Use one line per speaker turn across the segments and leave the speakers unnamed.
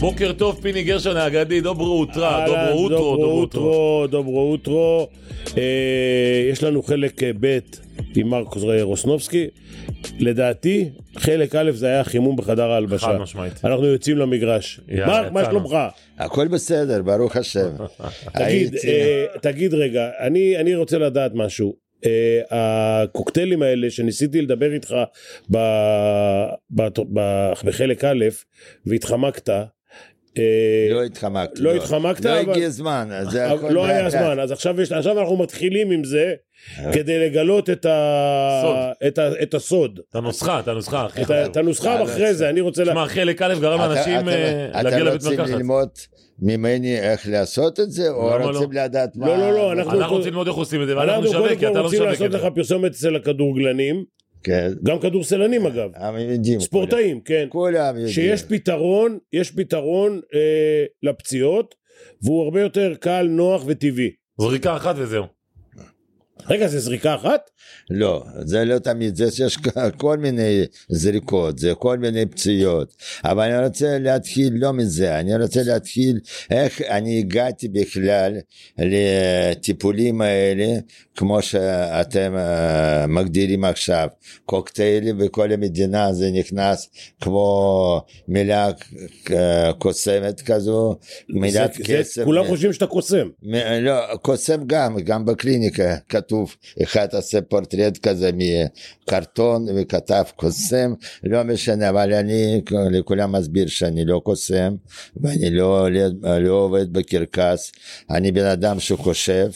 בוקר טוב, פיני גרשון האגדי, דוברו אוטרא,
אהלן,
אה, דוברו אוטרו, דוברו אוטרו.
אוטרו, דוברו אוטרו. אה, יש לנו חלק אה, ב' עם מרקוס רוסנובסקי. לדעתי, חלק א' זה היה חימום בחדר ההלבשה.
חד משמעית.
אנחנו יוצאים למגרש.
יאללה,
מרק, מה
יצאנו.
שלומך?
הכל בסדר, ברוך השם.
תגיד,
הייתי-
אה, תגיד רגע, אני, אני רוצה לדעת משהו. אה, הקוקטיילים האלה שניסיתי לדבר איתך ב, ב, ב, בחלק א' והתחמקת, אה,
לא התחמקתי.
לא התחמקת,
לא
אבל-
הגיע זמן, אז זה הכל...
אבל לא היה
בהקה.
זמן, אז עכשיו, יש, עכשיו אנחנו מתחילים עם זה כדי לגלות את, ה... את, ה... את הסוד,
את הנוסחה, את הנוסחה, הכי
את, ה... את
חשוב.
הנוסחה אחרי זה, אני רוצה... לה...
תשמע, חלק א' גרם
אתה-
לאנשים
אתה-
אה, להגיע
אתם
לבית
רוצים
מרקחת.
ללמוד ממני איך לעשות את זה, או
למה לא?
רוצים לדעת מה...
לא, לא, לא, אנחנו-
אנחנו רוצים ללמוד איך עושים את זה, ואנחנו
אנחנו
נשווק,
קודם
כי אתה
כל
לא
רוצים
משווק
לעשות
את זה.
לך פרסומת אצל הכדורגלנים,
כן,
גם כדורסלנים אגב,
הם יודעים.
ספורטאים, כן,
כולם יודעים.
שיש פתרון, יש פתרון אה, לפציעות, והוא הרבה יותר קל, נוח וטבעי.
זריקה אחת וזהו.
רגע, זה זריקה אחת?
לא, זה לא תמיד, זה שיש כל מיני זריקות, זה כל מיני פציעות, אבל אני רוצה להתחיל לא מזה, אני רוצה להתחיל איך אני הגעתי בכלל לטיפולים האלה, כמו שאתם אה, מגדירים עכשיו, קוקטיילים וכל המדינה זה נכנס כמו מילה אה, קוסמת כזו, מילת
זה- זה-
קסם. אה.
כולם חושבים שאתה קוסם.
מ- לא, קוסם גם, גם בקליניקה כתוב, אחד עושה פורטרט כזה מקרטון וכתב קוסם, לא משנה, אבל אני לכולם מסביר שאני לא קוסם ואני לא, עובד- לא עובד בקרקס, אני בן אדם שחושב,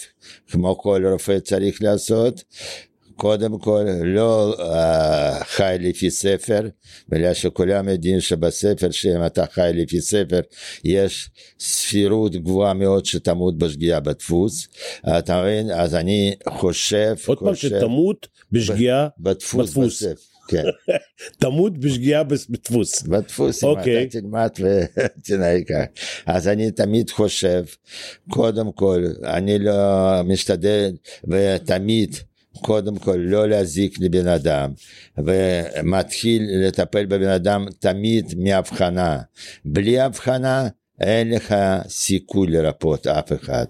כמו כל רופא צריך לעשות. קודם כל, לא uh, חי לפי ספר, בגלל שכולם יודעים שבספר, שאם אתה חי לפי ספר, יש סבירות גבוהה מאוד שתמות בשגיאה בדפוס. אתה מבין? אז אני חושב,
עוד פעם,
חושב,
שתמות בשגיאה,
בדפוס,
בדפוס.
בספר. כן,
תמות בשגיאה בס- בדפוס.
בדפוס,
אוקיי.
אם אתה תלמד ותנהג ככה. אז אני תמיד חושב, קודם כל, אני לא משתדל, ותמיד, קודם כל, לא להזיק לבן אדם, ומתחיל לטפל בבן אדם תמיד מהבחנה. בלי הבחנה, אין לך סיכוי לרפות אף אחד.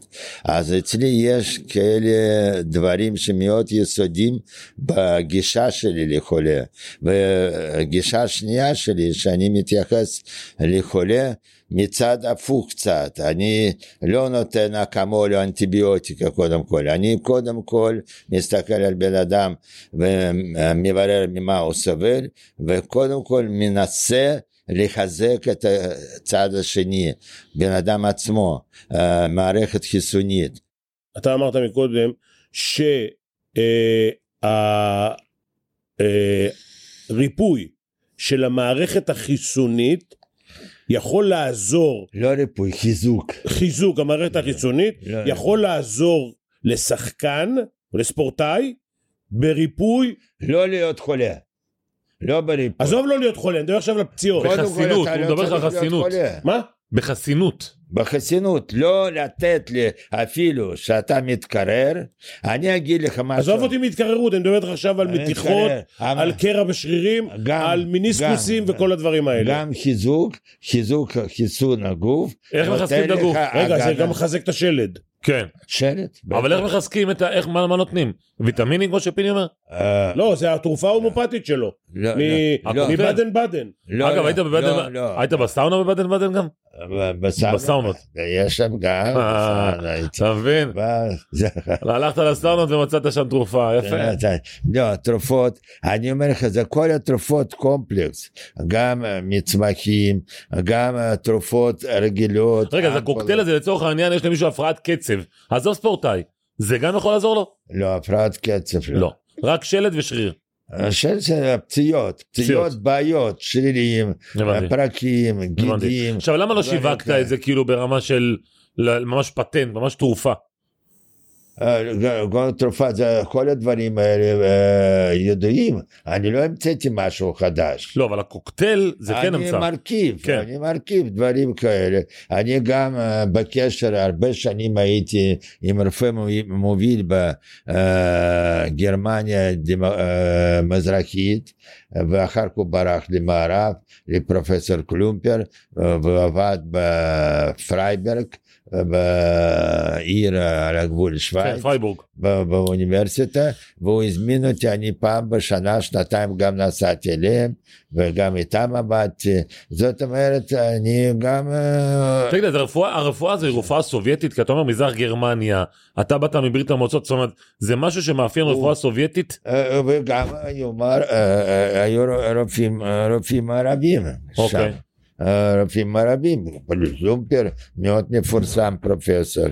אז אצלי יש כאלה דברים שמאוד יסודיים בגישה שלי לחולה. וגישה שנייה שלי, שאני מתייחס לחולה מצד הפוך קצת. אני לא נותן אקמול או אנטיביוטיקה קודם כל. אני קודם כל מסתכל על בן אדם ומברר ממה הוא סובל, וקודם כל מנסה לחזק את הצד השני, בן אדם עצמו, אה, מערכת חיסונית.
אתה אמרת מקודם אה, שהריפוי אה, של המערכת החיסונית יכול לעזור,
לא ריפוי, חיזוק.
חיזוק המערכת החיסונית
לא, לא.
יכול לעזור לשחקן או לספורטאי בריפוי,
לא להיות חולה. לא בריפוי.
עזוב לא להיות חולה, אני מדבר עכשיו על הפציעות.
קודם כל,
בחסינות,
אתה
הוא
לא
מדבר
צריך
על
להיות
חסינות.
חולה.
מה?
בחסינות.
בחסינות, לא לתת לי אפילו שאתה מתקרר, אני אגיד לך משהו.
עזוב אותי מהתקררות, אני מדבר איתך עכשיו על
אני
מתיחות,
מתקרר.
על קרע בשרירים,
גם,
על מיניסקוסים
גם.
וכל הדברים האלה.
גם חיזוק, חיזוק חיסון הגוף.
איך
נותן
מחזקים את
לך
הגוף?
רגע, זה
הגנה.
גם מחזק את השלד.
כן.
שלט.
אבל איך מחזקים את ה... איך, מה מה נותנים? ויטמינים כמו שפיני אומר?
אה,
לא, זה התרופה ההומופתית שלו.
לא,
מ-
לא, לא,
מבדן בדן.
לא,
אגב,
לא,
היית בבדן...
לא, לא.
היית בסאונה בבדן בדן גם?
ב- בסאונות.
בסאונות.
יש שם גם.
אה,
בסאונה, הייתי.
אתה מבין?
ב- זה-
הלכת לסאונות ומצאת שם תרופה, יפה.
אתה- לא, תרופות, אני אומר לך, זה כל התרופות קומפלקס, גם אה, מצמחים, גם אה, תרופות רגילות.
רגע, אז
אמפולות.
הקוקטייל הזה לצורך העניין יש למישהו הפרעת קצב. עזוב ספורטאי, זה גם יכול לעזור לו?
לא, הפרעת קצב.
לא. רק שלד ושריר.
השם זה פציעות, פציעות, בעיות, שרירים,
הבנתי.
פרקים,
הבנתי.
גידים.
עכשיו למה לא
דברים
שיווקת
כאלה.
את זה כאילו ברמה של ל- ממש פטנט, ממש תרופה?
אה, גורם תרופה, זה כל הדברים האלה אה, ידועים, אני לא המצאתי משהו חדש.
לא, אבל הקוקטייל זה כן
אני
המצאה.
מרכיב,
כן.
אני מרכיב דברים כאלה. אני גם אה, בקשר, הרבה שנים הייתי עם רופא מוביל- מוביל אה, בגרמניה המזרחית, אה, ואחר כך ברח למערב, לפרופסור קלומפר, אה, ועבד בפרייברג, אה, בעיר אה, על הגבול
כן,
שווייץ.
פרייבורג.
ב- באוניברסיטה, והוא הזמין אותי, אני פעם בשנה, שנתיים גם נסעתי אליהם, וגם איתם עבדתי. זאת אומרת, אני גם... אה,
תגיד, אז הרפואה, הרפואה הזו היא רפואה סובייטית, כי אתה אומר מזרח גרמניה, אתה באת מברית המועצות, זאת אומרת, זה משהו שמאפיין רפואה סובייטית?
אה, וגם היו מר- אה, אה, היו רופאים, אה, רופאים ערבים שם.
אוקיי.
אה, רופאים ערבים, זומפר מאוד מפורסם פרופסור.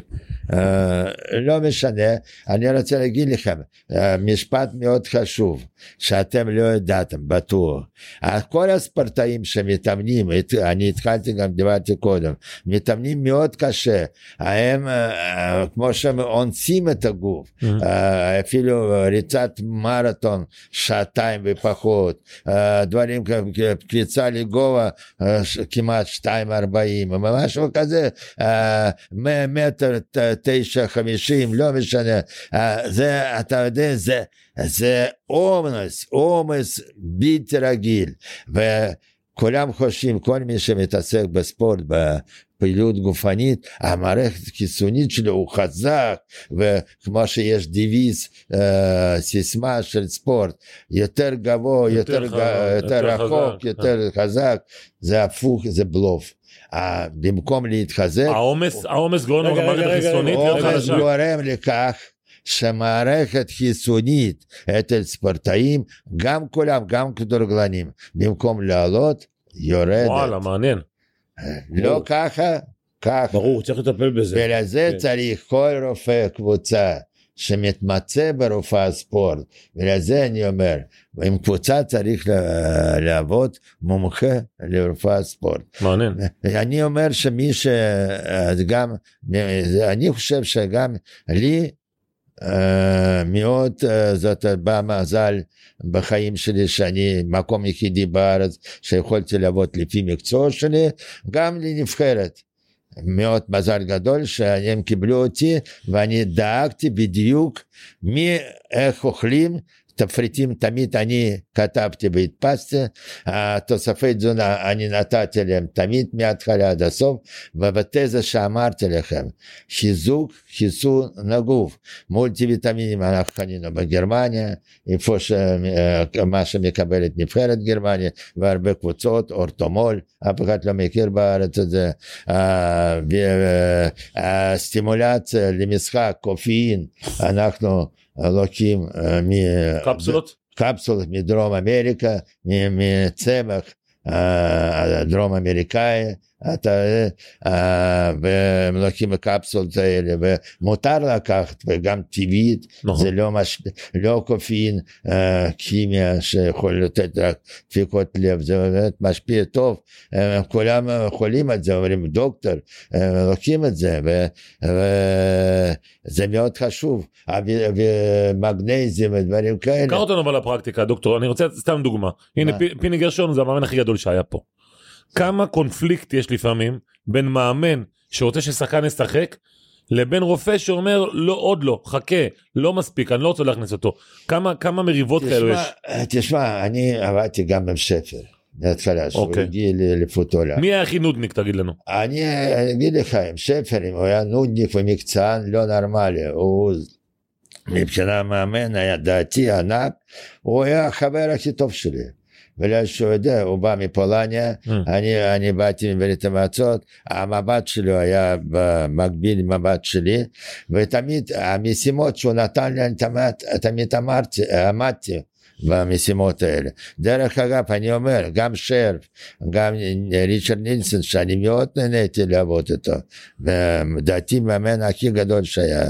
אה, לא משנה, אני רוצה להגיד לכם, אה, משפט מאוד חשוב, שאתם לא ידעתם, בטוח. אה, כל הספורטאים שמתאמנים, הת- אני התחלתי גם, דיברתי קודם, מתאמנים מאוד קשה, הם אה, אה, כמו שהם אונסים את הגוף, אה, אפילו ריצת מרתון שעתיים ופחות, אה, דברים כ- כ- קפיצה לגובה אה, ש- כמעט 2.40, משהו כזה, אה, 100 מטר ת- 9.50, לא משנה, אה, זה, אתה יודע, זה, זה עומס, עומס בלתי רגיל, וכולם חושבים, כל מי שמתעסק בספורט, ב... פעילות גופנית, המערכת החיסונית שלו הוא חזק, וכמו שיש דיוויז, אה, סיסמה של ספורט, יותר גבוה,
יותר
יותר,
חזק,
ג- יותר
יותר
רחוק,
חזק, כן.
יותר חזק, זה הפוך, זה בלוף. אה, במקום להתחזק,
אה, העומס, העומס גורם
רגע,
למערכת
רגע, רגע,
החיסונית להיות
עומס
חלשה.
גורם לכך שמערכת חיסונית אצל ספורטאים, גם כולם, גם כדורגלנים, במקום לעלות, יורדת.
וואלה, מעניין.
לא
ברור.
ככה, ככה.
ברור, צריך לטפל בזה.
ולזה
כן.
צריך כל רופא קבוצה שמתמצא ברופא הספורט, ולזה אני אומר, עם קבוצה צריך לה- לעבוד מומחה לרופא הספורט.
מעניין.
אני אומר שמי שגם, אה, אני חושב שגם לי אה, מאוד אה, זאת בא מזל בחיים שלי שאני מקום יחידי בארץ שיכולתי לעבוד לפי מקצוע שלי, גם לנבחרת. מאוד מזל גדול שהם קיבלו אותי ואני דאגתי בדיוק מי איך אוכלים תפריטים תמיד אני כתבתי והדפסתי התוספי תזונה אני נתתי להם תמיד מההתחלה עד הסוף ובתזה שאמרתי לכם חיזוק חיסון הגוף מולטי ויטמינים אנחנו קנינו בגרמניה איפה ש... אה, מה שמקבלת נבחרת גרמניה והרבה קבוצות אורטומול אף אחד לא מכיר בארץ את זה אה, ו- אה, הסטימולציה למשחק קופאין אנחנו לוקחים אה, מ...
קפסולות?
קפסולות מדרום אמריקה, מ- מצמח אה, הדרום אמריקאי, אתה, אה, והם לוקחים קפסולות האלה, ומותר לקחת, וגם טבעית,
נכון.
זה לא, מש... לא קופאין, אה, כימיה שיכול לתת רק דפיקות לב, זה באמת משפיע טוב, אה, כולם אה, חולים על זה, אומרים דוקטור, אה, לוקחים את זה, ו... וזה מאוד חשוב, אה, ו- ומגנזים ודברים כאלה.
קח אותנו אבל לפרקטיקה, דוקטור, אני רוצה סתם דוגמה. הנה,
מה?
פי- פיני גרשון זה המאמן הכי גדול שהיה פה. כמה קונפליקט יש לפעמים בין מאמן שרוצה ששחקן ישחק, לבין רופא שאומר, לא, עוד לא, חכה, לא מספיק, אני לא רוצה להכניס אותו. כמה, כמה מריבות כאלו יש?
תשמע, אה, תשמע, אני עבדתי גם עם שפר, מההתחלה, שהוא
אוקיי.
הגיע ל- לפוטולה.
מי היה הכי נודניק, תגיד לנו?
אני אה, אני אגיד לך, עם שפר, אם הוא היה נודניק ומקצוען לא נורמלי, הוא מבחינה מאמן היה דעתי ענק, הוא היה החבר הכי טוב שלי. בגלל שהוא יודע, הוא בא מפולניה, אני, אני באתי מברית המועצות, המבט שלו היה במקביל למבט שלי, ותמיד המשימות שהוא נתן לי, אני תמיד, תמיד אמרתי, עמדתי במשימות האלה. דרך אגב, אני אומר, גם שרף, גם ריצ'רד נילסון, שאני מאוד נהניתי לעבוד איתו, לדעתי מאמן הכי גדול שהיה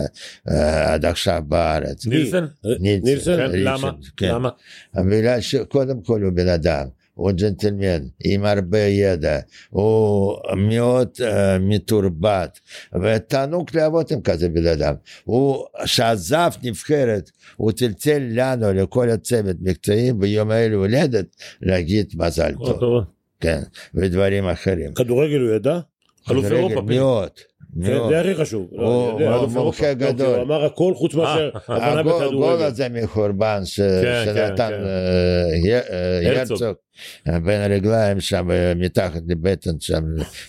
אה, עד עכשיו בארץ.
נילסן?
נילסון?
כן,
ריצ'רד,
למה?
כן.
למה?
בגלל שקודם כל הוא בן אדם, הוא ג'נטלמן עם הרבה ידע, הוא מאוד אה, מתורבת, ותענוג לעבוד עם כזה בן אדם. הוא, שעזב נבחרת, הוא צלצל לנו, לכל הצוות מקצועי, ביום האלה הולדת, להגיד מזל
כל
אוקיי.
טוב,
הכבוד.
כן, ודברים אחרים.
כדורגל הוא ידע?
אלוף
כדורגל
אירופה, פיני.
מאוד,
זה
מאוד.
זה הכי חשוב. לא,
הוא-
אני יודע,
הוא
אלוף
המומחה
אירופה. לא, כי
הגדול.
הוא אמר הכל חוץ מאשר
אה,
הבנה
הגול הגול
בכדורגל.
הזה מחורבן ש-
כן,
שנתן
כן.
אה, י- אה,
הרצוג.
הרצוג אה, בין הרגליים שם אה, מתחת לבטן שם,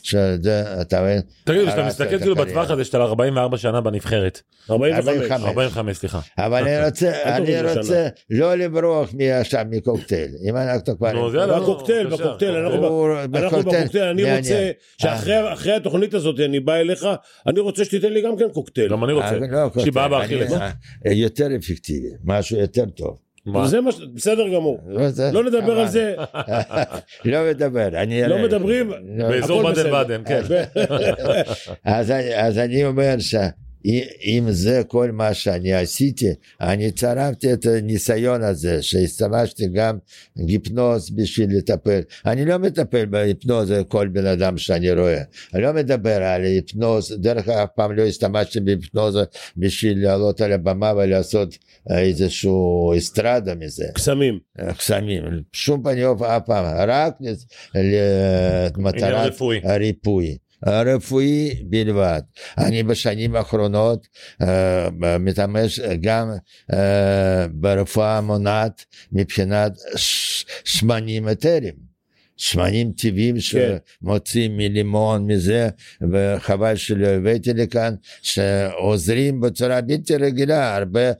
שזה אתה מבין?
תגידו, כשאתה
הרסת
מסתכל
את
כאילו
הקריירה.
בטווח הזה שאתה על 44 שנה בנבחרת,
אה,
45.
45.
45 סליחה,
אבל אני רוצה,
אל תוריד
אני
לשנה.
רוצה לא לברוח מהשם מקוקטייל, אם אנחנו כבר...
נו, אז יאללה, לא,
בקוקטייל,
בבקשה.
בקוקטייל, אנחנו ב-
הוא-
אנחנו בקוקטייל, אני
מעניין.
רוצה שאחרי אחרי התוכנית הזאת אני בא אליך, אני רוצה שתיתן לי גם כן קוקטייל.
גם אני רוצה,
אה, לא,
יש לי בעיה
קוקטייל,
באכילס,
אני-
לא?
אה, יותר אפקטיבי, משהו יותר טוב.
מה?
זה מה ש... בסדר גמור.
לא זה-
לא נדבר על
אבל-
זה,
לא מדבר, אני...
לא מדברים?
לא.
באזור
הכל
באדן
בסדר.
באדן,
אה,
כן,
אז, אני- אז אני אומר שאם זה כל מה שאני עשיתי, אני צרבתי את הניסיון הזה, שהשתמשתי גם היפנוז בשביל לטפל. אני לא מטפל בהיפנוז כל בן אדם שאני רואה. אני לא מדבר על היפנוז, דרך אגב, אף פעם לא השתמשתי בהיפנוז בשביל לעלות על הבמה ולעשות אה, איזשהו אסטרדה מזה. אה,
קסמים.
קסמים, שום פנים ואופן אף פעם, רק למטרת אה,
עניין רפואי.
הריפוי. הרפואי בלבד. אני בשנים האחרונות אה, מתאמש גם אה, ברפואה מונעת מבחינת ש- שמנים אתרים. שמנים טבעיים
כן.
שמוצאים מלימון, מזה, וחבל שלא הבאתי לכאן, שעוזרים בצורה בלתי רגילה, הרבה,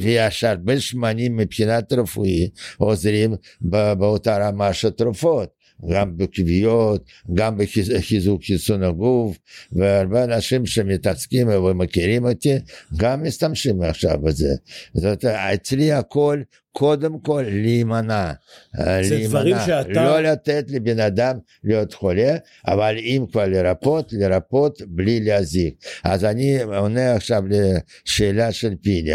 ויש הרבה שמנים מבחינת רפואי, עוזרים ב- באותה רמה של תרופות. גם בכוויות, גם בחיזוק חיסון הגוף, והרבה אנשים שמתעסקים ומכירים אותי, גם משתמשים עכשיו בזה. זאת אומרת, אצלי הכל, קודם כל להימנע. אה,
זה
להימנע.
דברים שאתה-
לא לתת לבן אדם להיות חולה, אבל אם כבר לרפות, לרפות בלי להזיק. אז אני עונה עכשיו לשאלה של פיני,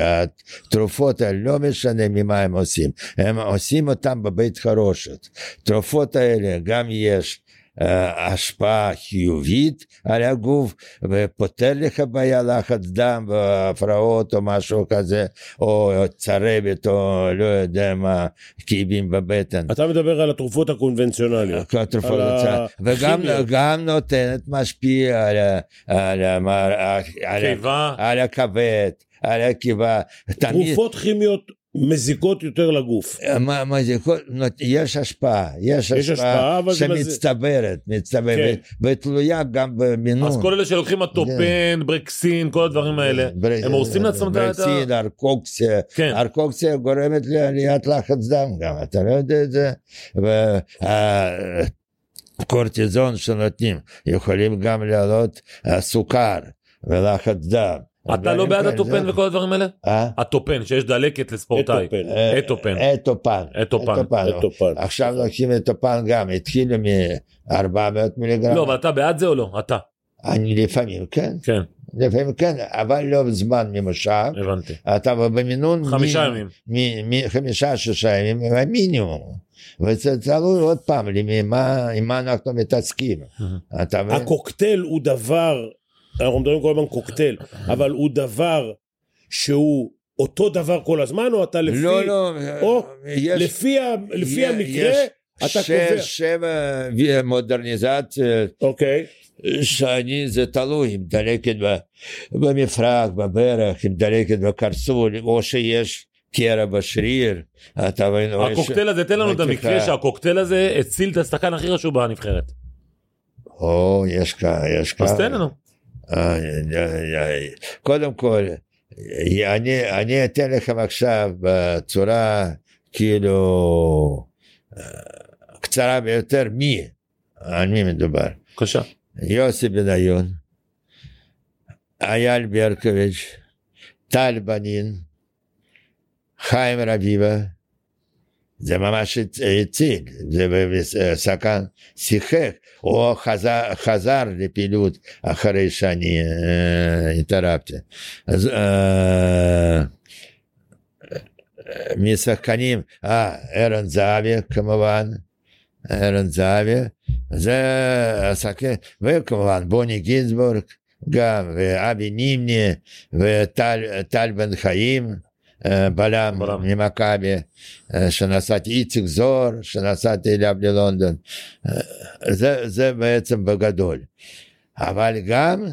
התרופות האלה, לא משנה ממה הם עושים, הם עושים אותם בבית חרושת. התרופות האלה גם יש. אה, השפעה חיובית על הגוף ופותר לך בעיה לחץ דם והפרעות או משהו כזה או צרבת או לא יודע מה כאבים בבטן.
אתה מדבר על התרופות הקונבנציונליות.
התרופה
על
רוצה, וגם
הכימיה.
גם נותנת משפיע על, ה- על, ה- על, ה-
קיבה,
כן.
על הכבד, על הקיבה, תמיד,
תרופות כימיות מזיקות יותר לגוף.
מה, מה זה, כל, נות, יש השפעה, יש,
יש השפעה, אבל זה-
שמצטברת, מצטברת,
כן.
ותלויה גם במינון.
אה,
אז כל אלה שלוקחים הטופן, ברקסין, כל
כן.
הדברים האלה,
בר-
הם הורסים לעצמם את ה-
ברצין, ארקוקסיה,
כן,
אה,
ארקוקסיה גורמת לעליית לחץ דם גם, אתה לא יודע את זה. והקורטיזון שנותנים יכולים גם לעלות אה, סוכר ולחץ דם.
אתה לא בעד
כן,
זה-
הטופן וכל הדברים האלה?
אה?
הטופן, שיש דלקת לספורטאי,
אטופן.
אה,
אטופן.
אטופן.
אטופן.
אה,
אטופן.
עכשיו לוקחים אטופן גם, התחילו מ-400 מיליגרם.
לא, אבל אתה בעד זה או לא? אתה,
אני לפעמים כן,
כן,
לפעמים כן, אבל לא בזמן ממושב.
הבנתי,
אתה במינון
חמישה
מי-
ימים,
מ- מ- חמישה שישה ימים המינימום. וזה תלוי עוד פעם למי- מה- עם מה אנחנו מתעסקים. אתה מבין?
הקוקטייל הוא דבר, אנחנו מדברים כל הזמן קוקטייל, אבל הוא דבר שהוא אותו דבר כל הזמן, או אתה לפי...
לא, לא,
או
יש-
לפי, ה- לפי
יש-
המקרה,
יש
אתה
שש,
קובע.
שבע וי- מודרניזציות,
אוקיי.
שאני, זה תלוי, אם דלקת ב- במפרק, בברך, אם דלקת בקרסול, או שיש קרע בשריר, אתה מבין? או יש-
הקוקטייל הזה, תן לנו את
ראיתי
המקרה
לך-
שהקוקטייל הזה הציל את השחקן הכי חשוב בנבחרת,
אה,
או, יש כאן, יש כאן.
אז תן לנו,
איי, איי, איי. קודם כל, אני, אני אתן לכם עכשיו בצורה כאילו אה, קצרה ביותר מי, על מי מדובר.
בבקשה,
יוסי בניון, אייל ברקוביץ', טל בנין, חיים רביבה, זה ממש הצ- הציל, זה ב- שחקן שיחק, או חזר, חזר לפעילות אחרי שאני אה, התערבתי. אז אה, А, משחקנים, אה, ערן זהבי כמובן, ערן זהבי, זה עסקים, וכמובן בוני גינסבורג גם, ואבי נימני, וטל טל בן חיים, אה, בלם
בלם.
ממכבי, אה, שנסעתי איציק זוהר, שנסעתי אליו ללונדון, אה, זה, זה בעצם בגדול. אבל גם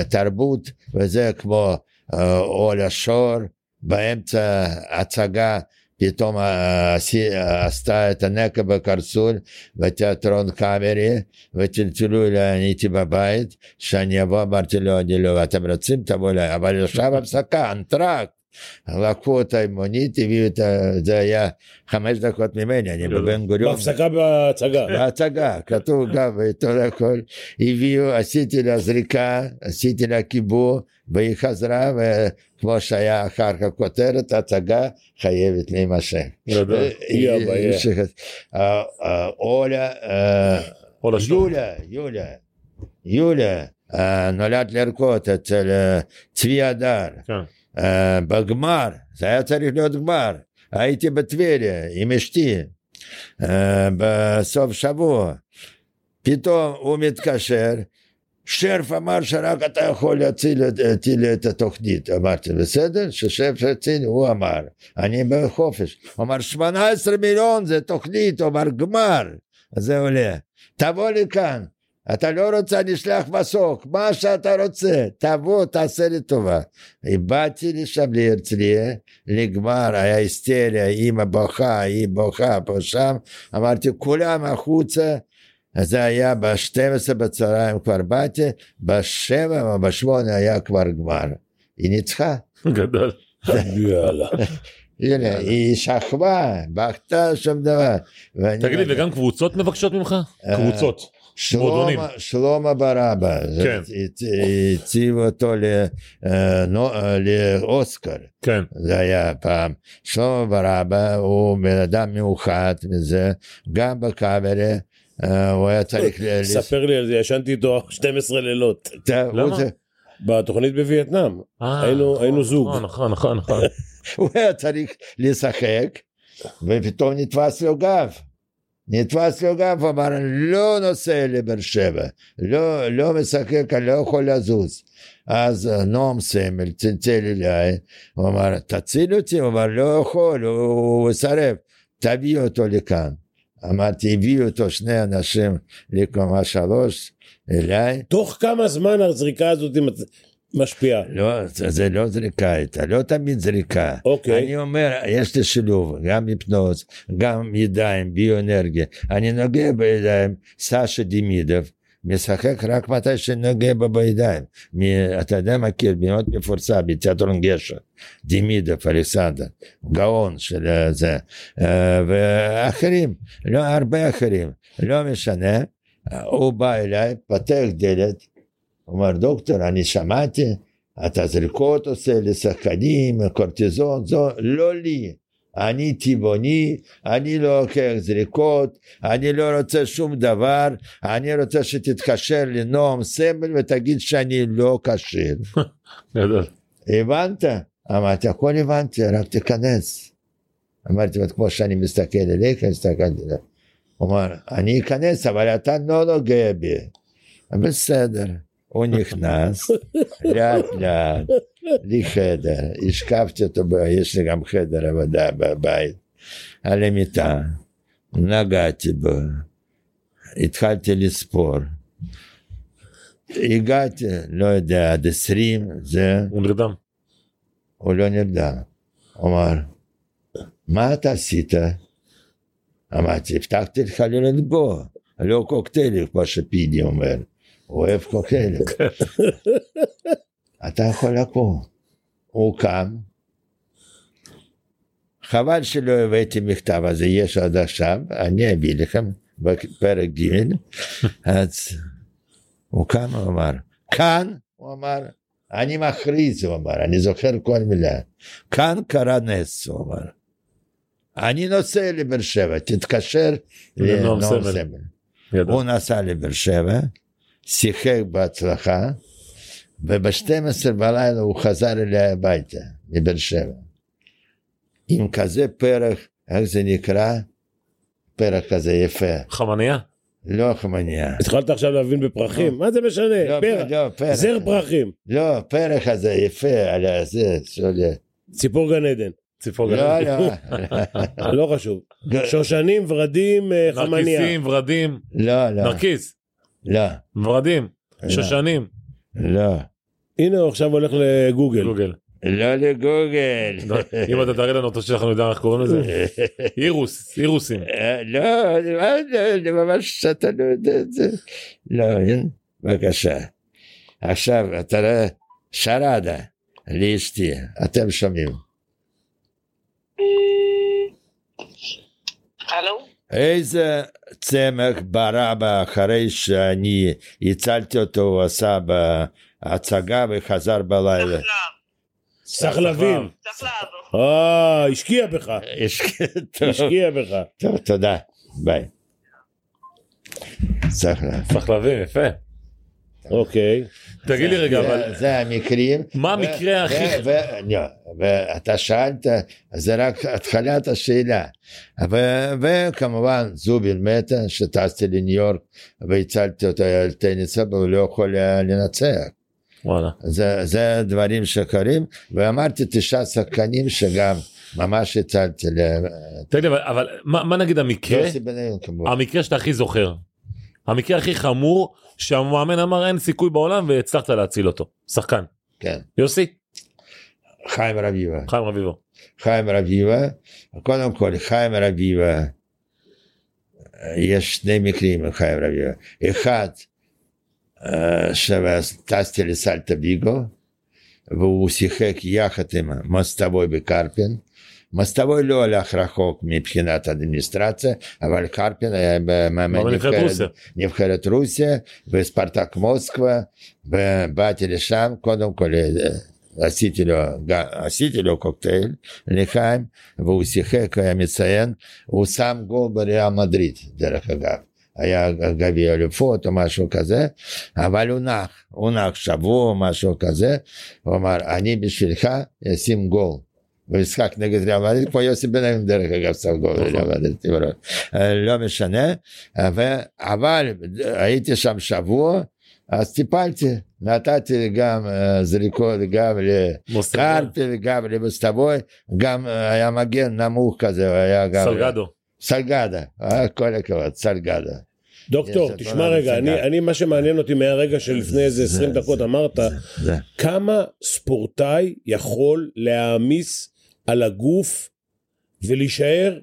מתרבות, וזה כמו אה, עול השור, באמצע הצגה פתאום אה, עשי- עשתה את הנקע בקרסול בתיאטרון קאמרי וטלטלו אליי, אני הייתי בבית, שאני אבוא אמרתי לו אני לא, אתם רוצים תבואו אליי, אבל עכשיו הפסקה, אנטרקט. לקחו אותה עם מונית, הביאו את ה... זה היה חמש דקות ממני, אני
גדול.
בבן גוריון.
בהפסקה בהצגה.
אה, בהצגה, לא, כתוב גם בעיתון הכל, הביאו, עשיתי לה זריקה, עשיתי לה קיבור, והיא חזרה, וכמו שהיה אחר כך כותרת, הצגה חייבת להימשך.
גדול.
היא הבעיה.
המשיכה. אה, אה, אולה, אה,
או לשון.
יוליה, יוליה, יוליה, אה, נולד לרקוד אצל אה, צבי הדר.
כן.
אה, בגמר, זה היה צריך להיות גמר, הייתי בטבריה עם אשתי אה, בסוף שבוע, פתאום הוא מתקשר, שרף אמר שרק אתה יכול להציל את- אותי את התוכנית, אמרתי בסדר, ששרף יציל, הוא אמר, אני בחופש, הוא אמר 18 מיליון זה תוכנית, הוא אמר גמר, זה עולה, תבוא לכאן. אתה לא רוצה, אני אשלח מסוק, מה שאתה רוצה, תבוא, תעשה לי טובה. באתי לשם להרצליה, לגמר, היה היסטריה, אימא בוכה, היא בוכה פה שם, אמרתי כולם החוצה, אז זה היה ב-12 בצהריים כבר באתי, ב-7 או ב-8 היה כבר גמר. היא ניצחה.
גדול.
אה,
יאללה.
הנה, היא שכבה, בכתה שום דבר. ואני-
תגיד לי, וגם קבוצות מבקשות ממך?
אה,
קבוצות. מועדונים.
שלמה, שלמה ברבא,
כן.
הצ- הציב אותו ל- אה, נו- אה, לאוסקר.
כן.
זה היה פעם. שלמה ברבא הוא בן אדם מיוחד מזה, גם בקאמרי, אה, הוא היה צריך... ל-
ספר לי על זה, ישנתי איתו 12 לילות.
ת- הוא
למה?
זה-
בתוכנית בווייטנאם.
אה,
היינו-
נכון,
היינו זוג.
נכון, נכון, נכון, נכון.
הוא היה צריך לשחק, ופתאום נתפס לו גב. נתפס לו גב, הוא אמר, לא נוסע לבאר שבע, לא, לא משחק, אני לא יכול לזוז. אז אה, נועם סמל צלצל אליי, הוא אמר, תציל אותי, הוא אמר, לא יכול, הוא- הוא מסרב, תביא אותו לכאן. אמרתי, הביאו אותו שני אנשים לקומה שלוש, אליי,
תוך כמה זמן הזריקה הזאת מצ- משפיעה?
לא, זה, זה לא זריקה הייתה, לא תמיד זריקה.
אוקיי.
אני אומר, יש לי שילוב, גם היפנוז, גם ידיים, ביואנרגיה. אני נוגע בידיים, סשה דמידוב. משחק רק מתי שנוגע בו בידיים. מ- אתה יודע, מכיר, מאוד מפורסם, בתיאטרון גשר. דמידוב, אלכסנדר, גאון של אה, זה, אה, ואחרים, לא, הרבה אחרים, לא משנה. אה, הוא בא אליי, פתח דלת, אומר, דוקטור, אני שמעתי, אתה זריקות עושה לשחקנים, קורטיזון, זו, לא לי. אני טבעוני, אני לא לוקח זריקות, אני לא רוצה שום דבר, אני רוצה שתתקשר לנועם סמל ותגיד שאני לא כשיר.
גדול.
הבנת? אמרתי, הכל הבנתי, רק תיכנס. אמרתי, "אבל כמו שאני מסתכל עליך, הסתכלתי עליו. הוא אמר, אני אכנס, אבל אתה לא נוגע בי. А בסדר. הוא נכנס, לאט לאט, לי חדר, השכבתי אותו, ב- יש לי גם חדר עבודה בבית, על המיטה, נגעתי בו, התחלתי לספור. הגעתי, לא יודע, עד עשרים, זה,
הוא נרדם.
הוא לא נרדם. הוא אמר, מה אתה עשית? אמרתי, הבטחתי לך לא לנגוע, לא קוקטיילים, כמו שפידי אומר. הוא אוהב קוקטיילים. אתה יכול לקום. הוא קם. חבל שלא הבאתי מכתב הזה, יש עד עכשיו, אני אביא לכם בפרק ג', אז הוא קם, הוא אמר, כאן, הוא אמר, אני מכריז, הוא אמר, אני זוכר כל מילה. כאן קרה נס, הוא אמר. אני נוסע לבאר שבע, תתקשר
לנועם
לנועם
סמל.
סמל.
גדול.
נכון.
הוא נסע לבאר שבע, שיחק בהצלחה, וב-12 בלילה הוא חזר אליה הביתה, מבאר שבע. עם כזה פרח, איך זה נקרא? פרח כזה יפה.
חמניה?
לא חמניה.
התחלת עכשיו להבין בפרחים, מה זה משנה?
לא,
אה, פרח,
לא, פרח.
זר פרחים,
לא, פרח הזה יפה, על הזה, שולה.
ציפור גן עדן,
ציפור גן.
לא, לא.
לא חשוב. שושנים, ורדים, אה, חמניה.
נרקיסים, ורדים,
לא, לא.
נרקיס,
לא.
ורדים,
לא.
שושנים,
לא.
הנה הוא עכשיו הולך לגוגל.
גוגל.
לא לגוגל.
לא, אם אתה תראה לנו אותו שאנחנו נדע איך קוראים לזה. אירוס, אירוסים.
אה, לא, לא, לא, זה ממש אתה לא יודע את זה. לא, הנה, בבקשה. עכשיו, אתה רואה, שרדה, לאשתי, אתם שומעים.
הלו?
איזה צמח ברא בה אחרי שאני הצלתי אותו, הוא עשה בהצגה וחזר בלילה.
סחלבים.
צריך לעבור.
אה, השקיע בך,
יש- טוב,
השקיע בך.
טוב, תודה, ביי. צריך לה-
סחלבים, יפה.
אוקיי.
תגיד לי רגע,
זה-
אבל
זה המקרים.
מה
ו-
המקרה
ו-
הכי-
ו- לא, ואתה שאלת, זה רק התחלת השאלה. ו- וכמובן זובין מתה, שטסתי לניו יורק והצלתי אותו על טניס, אבל הוא לא יכול היה לנצח.
וואלה.
זה, זה דברים שקורים, ואמרתי תשעה שחקנים שגם ממש הצלתי
תגיד לי, אבל- אבל מה מה נגיד המקרה?
ליוסי בניון כמובן.
המקרה שאתה הכי זוכר. המקרה הכי חמור שהמאמן אמר אין סיכוי בעולם והצלחת להציל אותו. שחקן.
כן.
יוסי?
חיים רביבה.
חיים רביבו.
חיים רביבה, קודם כל חיים רביבה, יש שני מקרים עם חיים רביבה, אחד אה, שטסתי לסלטה ביגו והוא שיחק יחד עם מסטבוי בקרפין, מסטבוי לא הלך רחוק מבחינת אדמיניסטרציה, אבל קרפין היה מאמן
אבל נבחרת רוסיה.
נבחרת רוסיה וספרטק מוסקבה ובאתי לשם קודם כל אה, עשיתי לו, גם- עשיתי לו קוקטייל לחיים והוא שיחק היה מצוין הוא שם גול בריאל מדריד דרך אגב היה גביע אלופות או משהו כזה אבל הוא נח הוא נח שבוע או משהו כזה הוא אמר אני בשבילך אשים גול במשחק נגד ריאל מדריד כמו יוסי בניון דרך אגב שם גול
נכון.
ריאל מדריד בראש. אה, לא משנה ו- אבל הייתי שם שבוע, אז טיפלתי, נתתי גם אה, זריקות, גם
מוסטגן.
לקרפי, גם לבוסטבוי, גם אה, היה מגן נמוך כזה, הוא היה גם...
סלגדו.
סלגדה, אה, כל הכבוד, סלגדה.
דוקטור,
יש את
תשמע
כל
רגע,
ההצגה.
אני, אני מה שמעניין אותי מהרגע שלפני איזה 20
זה-
דקות
זה-
אמרת,
זה.
כמה ספורטאי יכול להעמיס על הגוף ולהישאר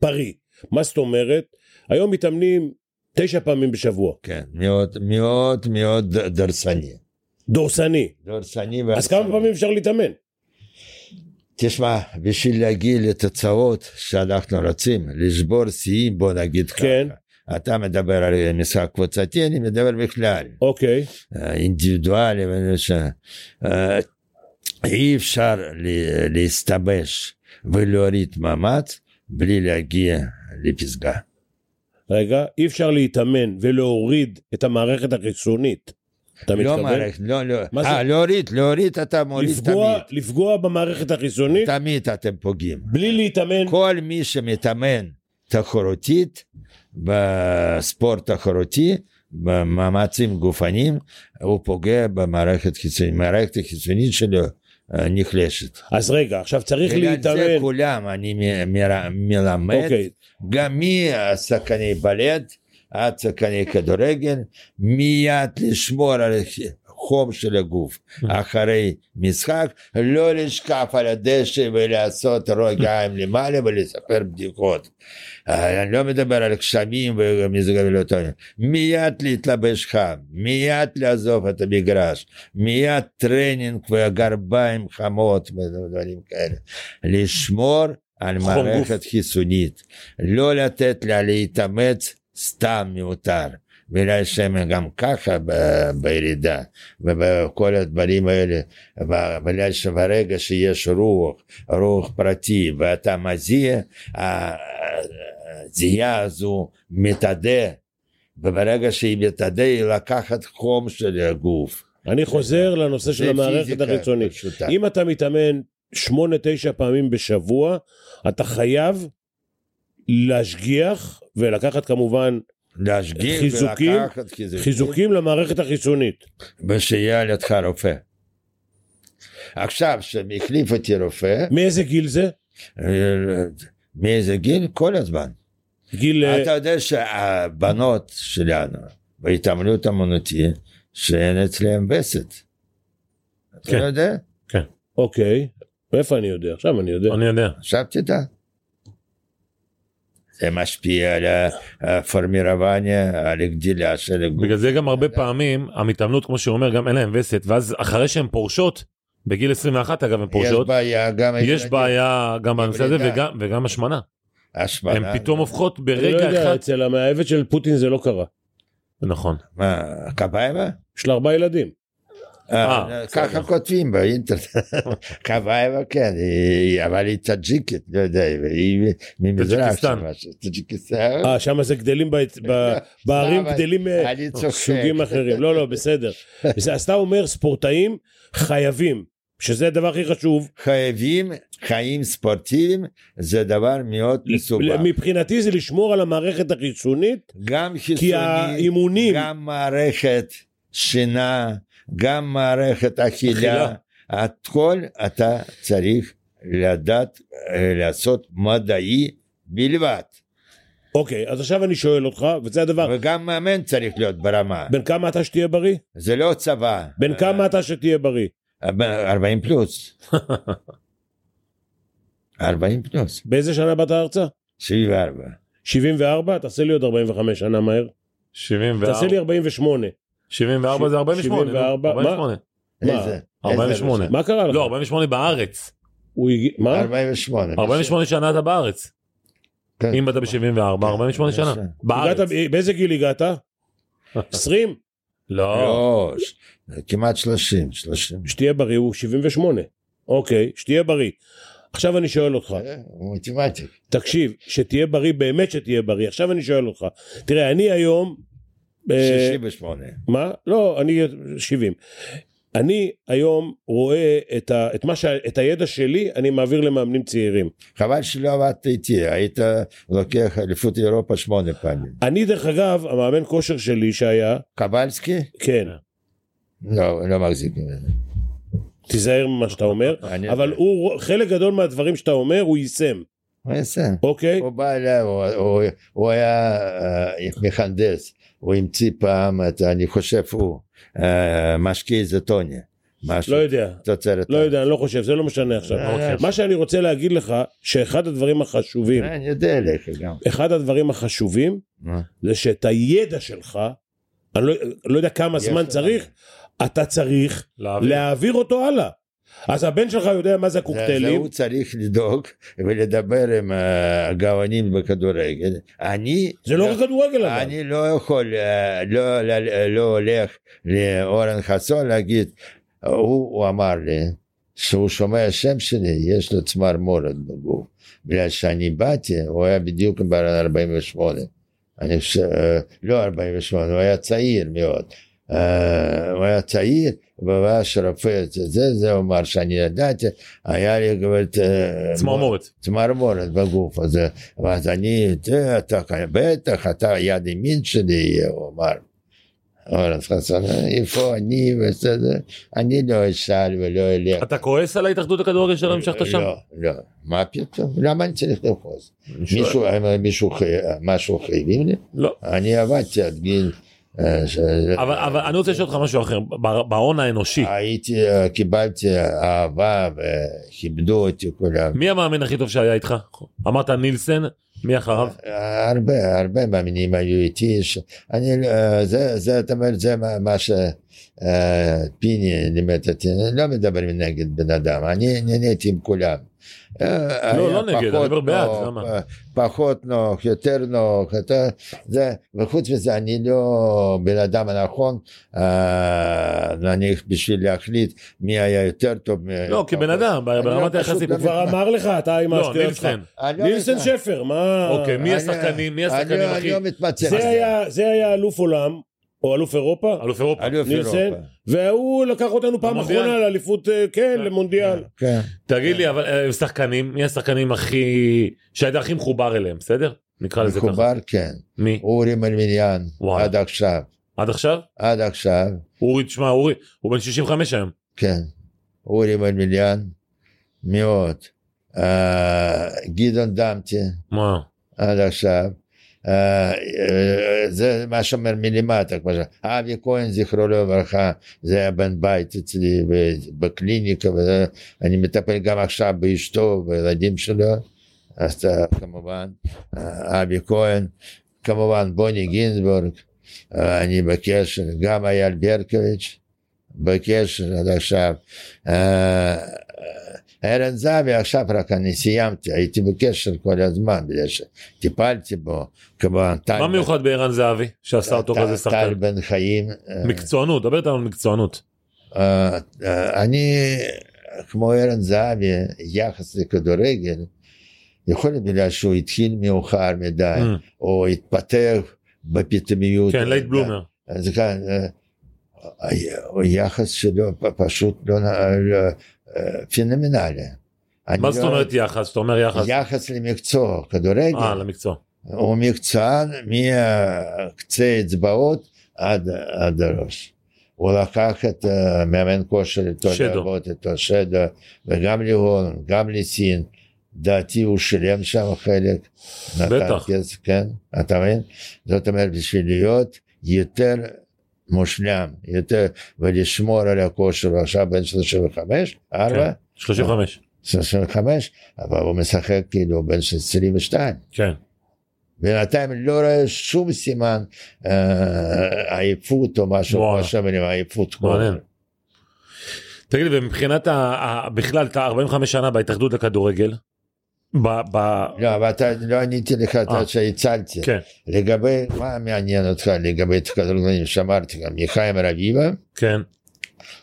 פרי? מה זאת אומרת? היום מתאמנים תשע פעמים בשבוע,
כן, מאוד מאוד מאוד דורסני.
דורסני.
דורסני
אז כמה פעמים אפשר להתאמן?
תשמע, בשביל להגיע לתוצאות שאנחנו רוצים, לשבור שיאים, בוא נגיד ככה.
כן.
אתה מדבר על משחק קבוצתי, אני מדבר בכלל.
אוקיי,
אה, אינדיבידואלי, ואני יודע, אה, אי אפשר ל- להסתבש ולהוריד מאמץ בלי להגיע לפסגה.
רגע, אי אפשר להתאמן ולהוריד את המערכת החיסונית. אתה
לא
מתכוון?
מערכת, לא, לא,
מה זה?
אה, להוריד, להוריד אתה מוריד
לפגוע,
תמיד,
לפגוע במערכת החיסונית
תמיד אתם פוגעים.
בלי להתאמן.
כל מי שמתאמן תחרותית בספורט תחרותי, במאמצים גופניים, הוא פוגע במערכת חיצונית, מערכת החיצונית שלו אה, נחלשת.
אז רגע, עכשיו צריך
בגלל זה
להתאמן.
כולם אני מ- מ- מלמד,
אוקיי,
גם משחקני בלט עד שחקני כדורגל, מיד לשמור על החום של הגוף
אה.
אחרי משחק, לא לשכב על הדשא ולעשות רגליים למעלה ולספר בדיחות. אה, אני לא מדבר על גשמים ומזגבים לא טובים. מיד להתלבש חם, מיד לעזוב את המגרש, מיד טרנינג וגרביים חמות ודברים כאלה. לשמור על
חום גוף.
מערכת חיסונית, לא לתת לה להתאמץ סתם מיותר. בגלל שהם גם ככה ב- בירידה ובכל הדברים האלה, ו- בגלל שברגע שיש רוח, רוח פרטי ואתה מזיע, ה- הזיעה הזו מתאדה, וברגע שהיא מתאדה היא לקחת חום של הגוף.
אני חוזר לנושא של
זה
המערכת
פיזיקה
החיצונית.
פשוטה.
אם אתה מתאמן שמונה תשע פעמים בשבוע, אתה חייב להשגיח ולקחת כמובן
להשגיח
חיזוקים,
ולקחת חיזוקים,
חיזוקים למערכת החיסונית.
ושיהיה על ידך רופא. עכשיו, שהחליף אותי רופא,
מאיזה גיל זה?
אה, מאיזה גיל? כל הזמן.
גיל... אה,
אתה יודע שהבנות שלנו, בהתעמלות אמנותית, שאין אצלהם וסת. אתה
כן.
לא יודע?
אוקיי. מאיפה אני יודע? עכשיו אני יודע.
אני יודע.
עכשיו תדע. זה משפיע על הפורמירבניה, על הגדילה של הגוף.
בגלל זה גם הרבה פעמים המתעמלות כמו שהוא אומר גם אין להם וסת ואז אחרי שהן פורשות בגיל 21 אגב הן
יש
פורשות
בעיה גם...
יש
עם
בעיה גם בנושא הזה
לידה.
וגם- וגם השמנה
השמנה.
הן פתאום הופכות
אני לא
ברגע
יודע,
אחד
אצל המאהבת של פוטין זה לא קרה.
נכון
מה, קבייבה?
יש לה ארבעה ילדים.
אה,
ככה
בסדר.
כותבים באינטרנט. קבייבה כן, היא- אבל היא טאג'יקית, לא יודע, היא ממזרח.
טאג'יקיסטן.
שם משהו, טאג'יקיסטן.
אה, שם זה גדלים, ב- ב- בערים
אבל-
גדלים אה,
אני צוחק.
סוגים אחרים. לא, לא, בסדר. בסדר, אז אתה אומר ספורטאים חייבים, שזה הדבר הכי חשוב.
חייבים חיים ספורטיביים, זה דבר מאוד מסובך.
מבחינתי זה לשמור על המערכת החיסונית.
גם
כי
חיסונים,
האימונים,
גם מערכת שינה, גם מערכת אכילה,
אכילה.
הכל אתה צריך לדעת אה, לעשות מדעי בלבד.
אוקיי, אז עכשיו אני שואל אותך, וזה הדבר,
וגם מאמן צריך להיות ברמה.
בן כמה אתה שתהיה בריא?
זה לא צבא.
בן כמה אתה שתהיה בריא?
אה, 40 פלוס. 40 פלוס.
באיזה שנה באת ארצה?
74.
74? תעשה לי עוד 45 שנה מהר.
74
תעשה לי 48.
74 זה 48 נו,
74, מה?
48
מה?
איזה? אה?
48.
מה קרה לך?
לא 48 בארץ
הוא הגיע... מה?
48.
48 שנה אתה בארץ
כן.
אם אתה ב-74 48 שנה
כן.
בארץ
הגעת- אה, באיזה גיל הגעת? 20?
לא
לא, ש- כמעט 30. 30.
שתהיה בריא הוא 78. אוקיי, שתהיה בריא. עכשיו אני שואל אותך,
הוא מתמטי.
תקשיב, שתהיה בריא, באמת שתהיה בריא. עכשיו אני שואל אותך, תראה, אני היום... אה,
68.
מה? לא, אני 70. אני היום רואה את, ה, את, מה שה, את הידע שלי, אני מעביר למאמנים צעירים.
חבל שלא עבדת איתי, היית לוקח אליפות אירופה שמונה פעמים.
אני דרך אגב, המאמן כושר שלי שהיה,
קבלסקי?
כן,
לא, לא מחזיק ממנו.
תיזהר ממה שאתה אומר,
אני-
אבל הוא, חלק גדול מהדברים שאתה אומר הוא יישם,
הוא יעשה.
אוקיי?
הוא בא אליי, הוא- הוא- הוא היה אה, מהנדס, הוא המציא פעם, את- אני חושב הוא, אה, משקה איזוטוניה. משהו,
לא יודע,
תוצרת.
לא יודע, אני לא חושב, זה לא משנה עכשיו.
אה, אוקיי.
מה שאני רוצה להגיד לך, שאחד הדברים החשובים,
אה, אני יודע לך גם.
אחד הדברים החשובים,
אה.
זה שאת הידע שלך, אני לא, לא יודע כמה זמן
יש-
צריך, אתה צריך
להעביר.
להעביר אותו הלאה. אז הבן שלך יודע מה זה
זה- זה
הקוקטיילים,
הוא צריך לדאוג ולדבר עם אה, הגאונים בכדורגל. אני...
זה לא רק כדורגל אבל.
אני לא יכול, אה, לא, לא, לא הולך לאורן חסון להגיד, הוא, הוא אמר לי, שהוא שומע שם שלי, יש לו צמרמורת בגוף. בגלל שאני באתי, הוא היה בדיוק בן 48. אני חושב, אה, לא 48, הוא היה צעיר מאוד. אה, הוא היה צעיר, ואז שרפא את זה, זה הוא אמר שאני ידעתי, היה לי כבר... אה,
צמרמורת
צמרמורת בגוף הזה, ואז אני, "זה, אתה בטח, אתה יד ימין שלי יהיה, הוא אמר. אורן חסון, איפה אני בסדר, אני לא אשאל ולא אלך.
אתה כועס על ההתאחדות הכדורגל שלא המשכת שם?
לא, לא, מה פתאום, למה אני צריך לכעוס?
אני שואל.
מישהו, מישהו, חי- משהו חייבים לי?
לא.
אני עבדתי עד גיל... אה, ש-
אבל אבל אני רוצה לשאול אותך משהו אחר ב- בהון האנושי
הייתי, אה, קיבלתי אהבה э, וכיבדו אותי כולם.
מי המאמן הכי טוב שהיה איתך? אמרת נילסן, מי אחריו?
הרבה הרבה מאמינים היו איתי ש... אני אה, זה זה אתה אומר זה מה- מה שפיני לימד אותי אני לא מדבר נגד בן אדם אני נהניתי עם כולם. אה,
לא, לא
היה
נגד, אני
פחות
מדבר בעד,
נוח,
למה?
אה, פחות נוח יותר נוח אתה זה וחוץ מזה אני לא בן אדם הנכון אה, נניח בשביל להחליט מי היה יותר טוב. מי היה
לא, כבן
פחות.
אדם,
אני לא
ברמת
פשוט
היחסים.
לא
הוא כבר אמר לך, אתה עם
לא,
השטויות שלך.
נילסן.
אני לא
נילסן
יודע.
שפר, מה...
אוקיי, מי
אני-
השחקנים? מי
אני-
השחקנים
אני
הכי?
לא מתמצא.
זה היה- זה היה אלוף עולם, או אלוף אירופה,
אלוף אירופה.
אלוף
נילסן,
אירופה.
והוא לקח אותנו פעם
למונדיאל.
אחרונה לאליפות, אה, כן,
כן.
למונדיאל.
כן.
תגיד לי, אבל אה, שחקנים, מי השחקנים הכי... שהיית הכי מחובר אליהם, בסדר? נקרא לזה ככה.
מחובר כן.
מי?
אורי מלמיליאן
וואי.
עד עכשיו.
עד עכשיו?
עד עכשיו.
אורי, תשמע, אורי, הוא בן 65 היום.
כן, אורי מלמיליאן, מאוד. אה, גדעון דמתי,
מה?
עד עכשיו. אה, אה, זה מה שאומר מלמטה, כמו ש... אבי כהן, זכרו לברכה, זה היה בן בית אצלי ב- בקליניקה, וזה- אני מטפל גם עכשיו באשתו, בילדים שלו, אז אתה, כמובן, אה, אבי כהן, כמובן בוני גינזבורג, אה, אני בקשר, גם אייל ברקוביץ', בקשר עד עכשיו. אה, ארן זהבי עכשיו רק אני סיימתי, הייתי בקשר כל הזמן, בגלל שטיפלתי בו, כמובן טל,
מה מיוחד בערן זהבי, שעשה אותו
טל-
כזה
טל
שחקן?
בן חיים, אה,
מקצוענות, דבר איתנו על מקצוענות.
אה, אה, אני כמו ארן זהבי, יחס לכדורגל, יכול להיות בגלל שהוא התחיל מאוחר מדי,
אה,
או התפתח בפתאומיות.
כן, לייט בלומר.
אז כאן, אה, а ה- היחס שלו פ- פשוט לא, נ- לא- אה, פנומנלי. אני
מה זאת
לא-
אומרת יחס? זאת אומרת יחס?
יחס למקצוע, כדורגל,
אה, למקצוע.
הוא מקצוען מקצה אצבעות עד, עד הראש. הוא לקח את אה, מאמן כושר איתו,
שדו.
לעבוד איתו, שדו, וגם להון, גם לסין. דעתי הוא שילם שם חלק. נתן
בטח.
כסף, כן, אתה מבין? זאת אומרת, בשביל להיות יותר מושלם, יותר, ולשמור על הכושר, הוא עכשיו בן 35, 4,
כן.
אה.
35.
35, אבל הוא משחק כאילו הוא בן 22.
כן.
בינתיים לא רואה שום סימן אה, עייפות או משהו,
וואלה.
כמו שאומרים, עייפות.
מעניין. תגיד, לי, ומבחינת ה... ה- בכלל, אתה 45 שנה בהתאחדות לכדורגל? ב... ב...
לא, אבל אתה לא עניתי לך את
אה.
מה שהצלתי.
כן,
לגבי, מה מעניין אותך לגבי כדורגלנים שאמרתי גם, מחיים רביבה,
כן.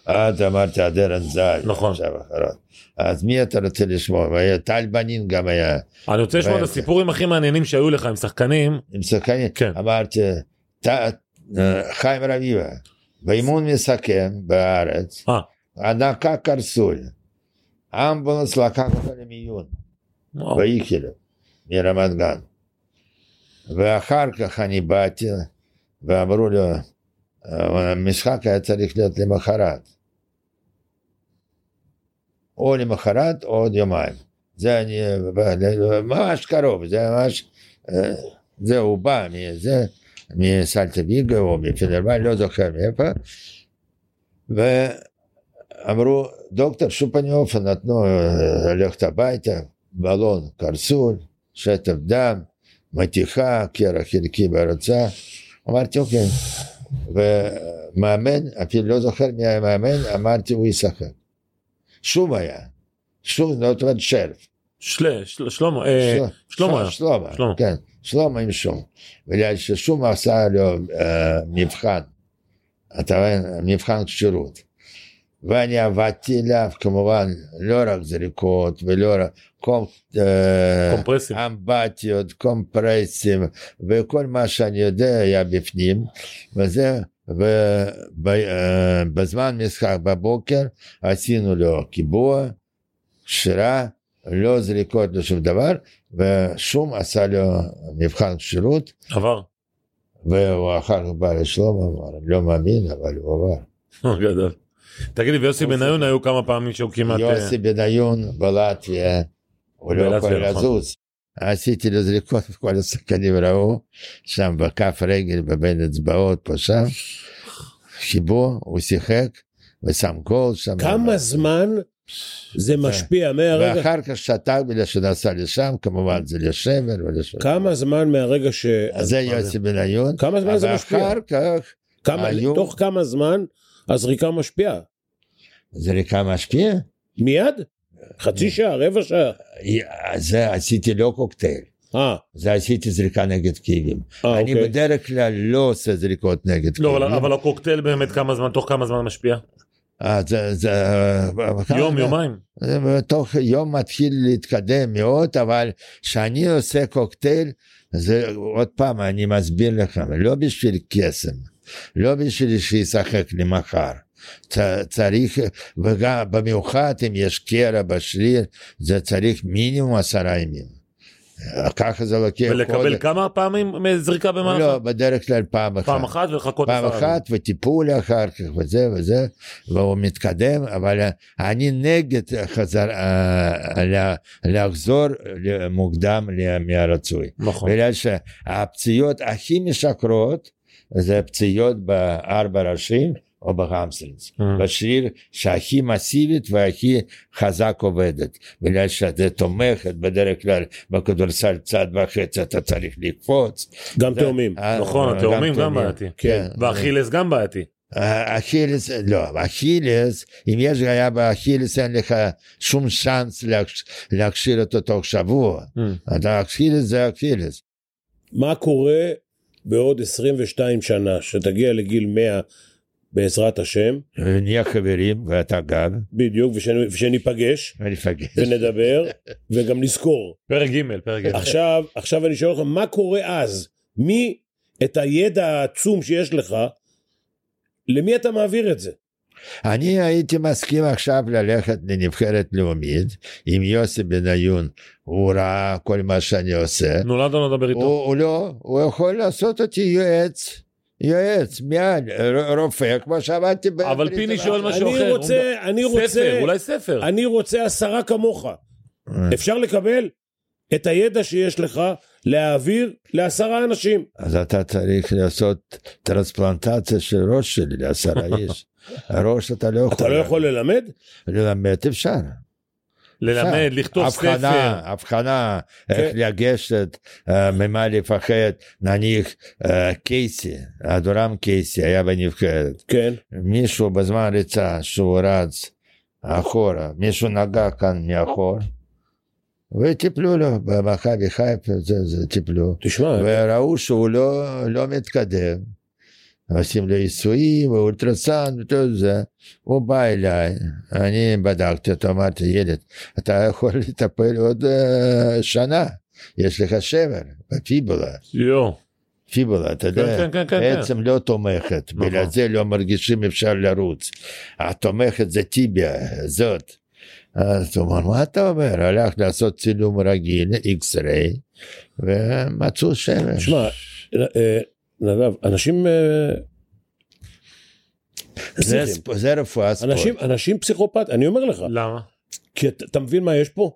את אמרת עד ארן זהב.
נכון.
עכשיו אחרון. אז מי אתה רוצה לשמוע? היה טל בנין גם היה
אני רוצה לשמוע את
באמצע.
הסיפורים הכי מעניינים שהיו לך עם שחקנים.
עם שחקנים.
כן.
אמרתי, "ת- אה, חיים רביבה, באימון מסכם בארץ.
אה,
הנקה קרסול. אמבולנס לקח אותו למיון
וואו.
באיכילוב, מרמת גן. ואחר כך אני באתי ואמרו לו, "אה, המשחק היה צריך להיות למחרת. או למחרת או עוד יומיים. זה אני, э, ממש קרוב, זה ממש, אה, זה הוא בא מזה, מסלטה ויגה או מפנרמן, לא זוכר מאיפה. ואמרו, דוקטור שופניוף, נתנו אה, ללכת הביתה, בלון קרסול, שטף דם, מתיחה, קרע חלקי ברצה. אמרתי, אוקיי. ומאמן, אפילו לא זוכר מי היה מאמן, אמרתי, הוא ישחק. שום היה. שום, זאת אומרת שרף.
של- של- שלמה, אה,
של-
שלמה היה.
שלמה,
שלמה.
כן, שלמה עם שום. בגלל ששום עשה לו אה, מבחן, אתה מבין, מבחן כשירות. ואני עבדתי אליו כמובן לא רק זריקות ולא רק קום, אה,
קומפרסים.
אמבטיות, קומפרסים וכל מה שאני יודע היה בפנים וזה ובזמן משחק בבוקר עשינו לו קיבוע, קשירה, לא זריקות, לא שום דבר ושום עשה לו מבחן כשירות
עבר.
והוא אחר כך בא לשלום אמר לא מאמין אבל הוא עבר.
אה, גדול. תגיד לי, ויוסי בניון היו כמה פעמים שהוא כמעט... אה,
אוקיי. יוסי בניון בלטביה, הוא לא
בלטביה,
יכול
נכון.
לזוז. עשיתי לו זריקות, כל השחקנים ראו, שם בכף רגל, בבין אצבעות, פה שם. חיבור, הוא שיחק, ושם גול שם.
כמה זמן זה משפיע מהרגע,
ואחר כך שתק בגלל שנסע לשם, כמובן זה לשבר ולשבר.
כמה זמן מהרגע ש...
אז זה יוסי בניון.
כמה זמן זה משפיע?
ואחר כך,
כמה-
היו-
תוך כמה זמן הזריקה משפיעה?
זריקה משפיע?
מיד? חצי שעה, רבע שעה?
זה עשיתי לא קוקטייל,
אה,
זה עשיתי זריקה נגד כאבים.
אה,
אני
אוקיי.
בדרך כלל לא עושה זריקות נגד
לא,
כאבים.
אבל- אבל הקוקטייל באמת כמה זמן, תוך כמה זמן משפיע?
אה, זה, זה... אה,
יום, יומיים?
תוך יום מתחיל להתקדם מאוד, אבל כשאני עושה קוקטייל, זה עוד פעם, אני מסביר לכם, לא בשביל קסם, לא בשביל שישחק לי מחר. צ- צריך, וגם במיוחד אם יש קרע בשריר, זה צריך מינימום עשרה ימים. אה, ככה זה לוקח
ולקבל כמה פעמים אה, זריקה במערכה?
כן, לא, בדרך כלל פעם אחת.
פעם אחת ולחכות
פעם
עשרה ימים.
אחת וטיפול אחר כך וזה וזה והוא מתקדם אבל אה, אני נגד חזר אה, לה- לחזור ל- מוקדם ל- מהרצוי
נכון.
בגלל שהפציעות הכי משקרות זה פציעות בארבע ראשים או בהמסטרינגס
אה.
בשריר שהכי מסיבית והכי חזק עובדת בגלל שאתה תומכת בדרך כלל בכדורסל צד וחצי אתה צריך לקפוץ
גם תאומים.
אה,
נכון, התאומים גם
תאומים.
בעייתי.
כן.
ואכילס גם בעייתי.
אה, אכילס, לא, אכילס, אם יש בעיה באכילס אין לך שום צ'אנס להכש- להכשיר אותו תוך שבוע. אתה אכילס זה אכילס.
מה קורה בעוד 22 שנה, שתגיע לגיל 100 בעזרת השם,
ונהיה חברים, ואתה גם,
בדיוק, ושנ- ושניפגש
וניפגש.
ונדבר וגם נזכור.
פרק ג', פרק ג'.
עכשיו, עכשיו אני שואל אותך, מה קורה אז? מי, את הידע העצום שיש לך, למי אתה מעביר את זה?
אני הייתי מסכים עכשיו ללכת לנבחרת לאומית עם יוסי בניון, הוא ראה כל מה שאני עושה.
נו, למה אתה לא מדבר איתו?
הוא, הוא לא, הוא יכול לעשות אותי יועץ, יועץ, מעל, ר- רופא, כמו שעבדתי ב...
אבל פיני שואל משהו
אני
אחר. הוא
רוצה, אני
ספר,
רוצה,
אולי ספר.
אני רוצה עשרה כמוך. אפשר לקבל את הידע שיש לך להעביר לעשרה אנשים.
אז אתה צריך לעשות טרנספלנטציה של ראש שלי לעשרה איש. ראש אתה לא יכול.
אתה לא יכול ללמד?
ללמד אפשר.
ללמד,
אפשר.
לכתוב ספר.
הבחנה, הבחנה,
כן.
איך לגשת, אה, ממה לפחד. נניח אה, קייסי, אדורם קייסי היה בנבחרת.
כן.
מישהו בזמן ריצה שהוא רץ אחורה, מישהו נגע כאן מאחור, וטיפלו לו במכבי חיפה, זה- זה טיפלו.
תשמע,
וראו שהוא לא, לא מתקדם. עושים לו עיסויים ואולטרסאונד וכל זה. הוא בא אליי, אני בדקתי אותו, אמרתי, ילד, אתה יכול לטפל עוד אה, שנה, יש לך שבר בפיבולה.
יואו.
פיבולה, אתה יודע,
כן, כן, כן, כן.
בעצם לא תומכת,
נכון.
בגלל זה לא מרגישים אפשר לרוץ. התומכת זה טיביה, זאת. אז הוא אמר, מה אתה אומר? הלך לעשות צילום רגיל, איקס-ריי, ומצאו שמש.
תשמע, אה, נדב, אנשים, אה,
זה,
פסיכים.
ספ- זה רפואה ספורט.
אנשים, אנשים פסיכופת, אני אומר לך,
כן. למה?
כי אתה אתה מבין מה יש פה?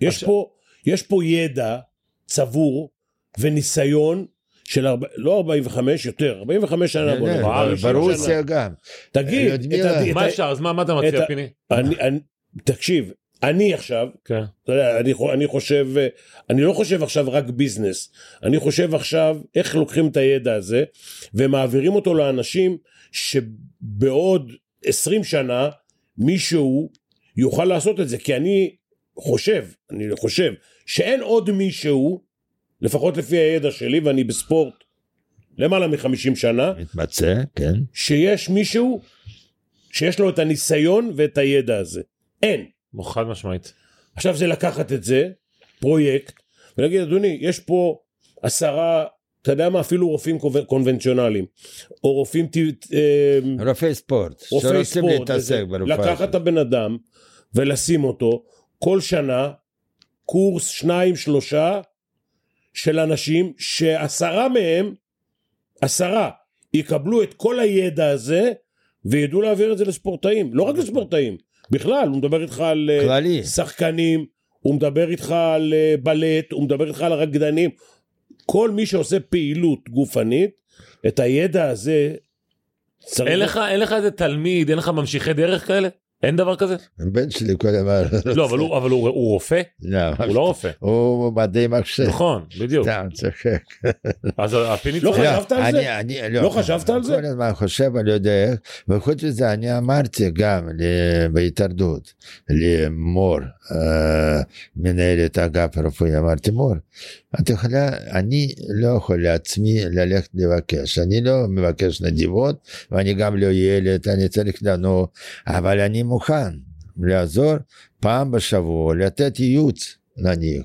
יש
עכשיו-
פה, יש פה ידע צבור וניסיון של ארבע, לא 45 יותר, 45 שנה בוא
כן,
נאמר,
ברור,
40 שנה.
ברוסיה גם.
תגיד, את
לודמילה.
ה- את
מה
ה-
אפשר? אז מה מה אתה מציע,
את ה-
פיני?
אני- אני- תקשיב, אני עכשיו,
כן.
אתה יודע, אני, חו- אני חושב, אה, אני לא חושב עכשיו רק ביזנס, אני חושב עכשיו איך לוקחים את הידע הזה ומעבירים אותו לאנשים שבעוד 20 שנה מישהו יוכל לעשות את זה, כי אני חושב, אני חושב שאין עוד מישהו, לפחות לפי הידע שלי ואני בספורט למעלה מ-50 שנה,
מתמצא, כן.
שיש מישהו שיש לו את הניסיון ואת הידע הזה, אין.
נו, חד משמעית.
עכשיו זה לקחת את זה, פרויקט, ולהגיד אדוני, יש פה עשרה, אתה יודע מה, אפילו רופאים קונב- קונבנציונליים, או רופאים, טבע- אה,
רופאי ספורט.
רופאי
שרוצים
ספורט,
להתעסק
וזה.
ברפואה.
לקחת את הבן אדם ולשים אותו כל שנה, קורס שניים שלושה של אנשים שעשרה מהם, עשרה, יקבלו את כל הידע הזה וידעו להעביר את זה לספורטאים, לא רק לספורטאים, בכלל, הוא מדבר איתך על... אה,
כללי.
שחקנים, הוא מדבר איתך על אה, בלט, הוא מדבר איתך על רקדנים. כל מי שעושה פעילות גופנית, את הידע הזה צריך...
אין לך- אין לך איזה תלמיד, אין לך ממשיכי דרך כאלה? אין דבר כזה?
הבן שלי כל הזמן...
לא, אבל הוא- אבל הוא הוא רופא?
לא,
הוא לא רופא.
הוא מדעי מחשב.
נכון, בדיוק.
סתם, צוחק.
אז אה, הפיני
לא
צריך...
חשב- חשבת על
אני-
זה?
אני,
לא חשבת על זה?
כל הזמן חושב, אני לא יודע איך. וחוץ מזה, אני אמרתי גם ל- בהתאחדות, למור, אה, מנהלת אגף הרפואי, אמרתי, מור, את יכולה, אני לא יכול לעצמי ללכת לבקש. אני לא מבקש נדיבות, ואני גם לא ילד, אני צריך а לנוע, אבל אני מוכן לעזור פעם בשבוע, לתת ייעוץ. נניח,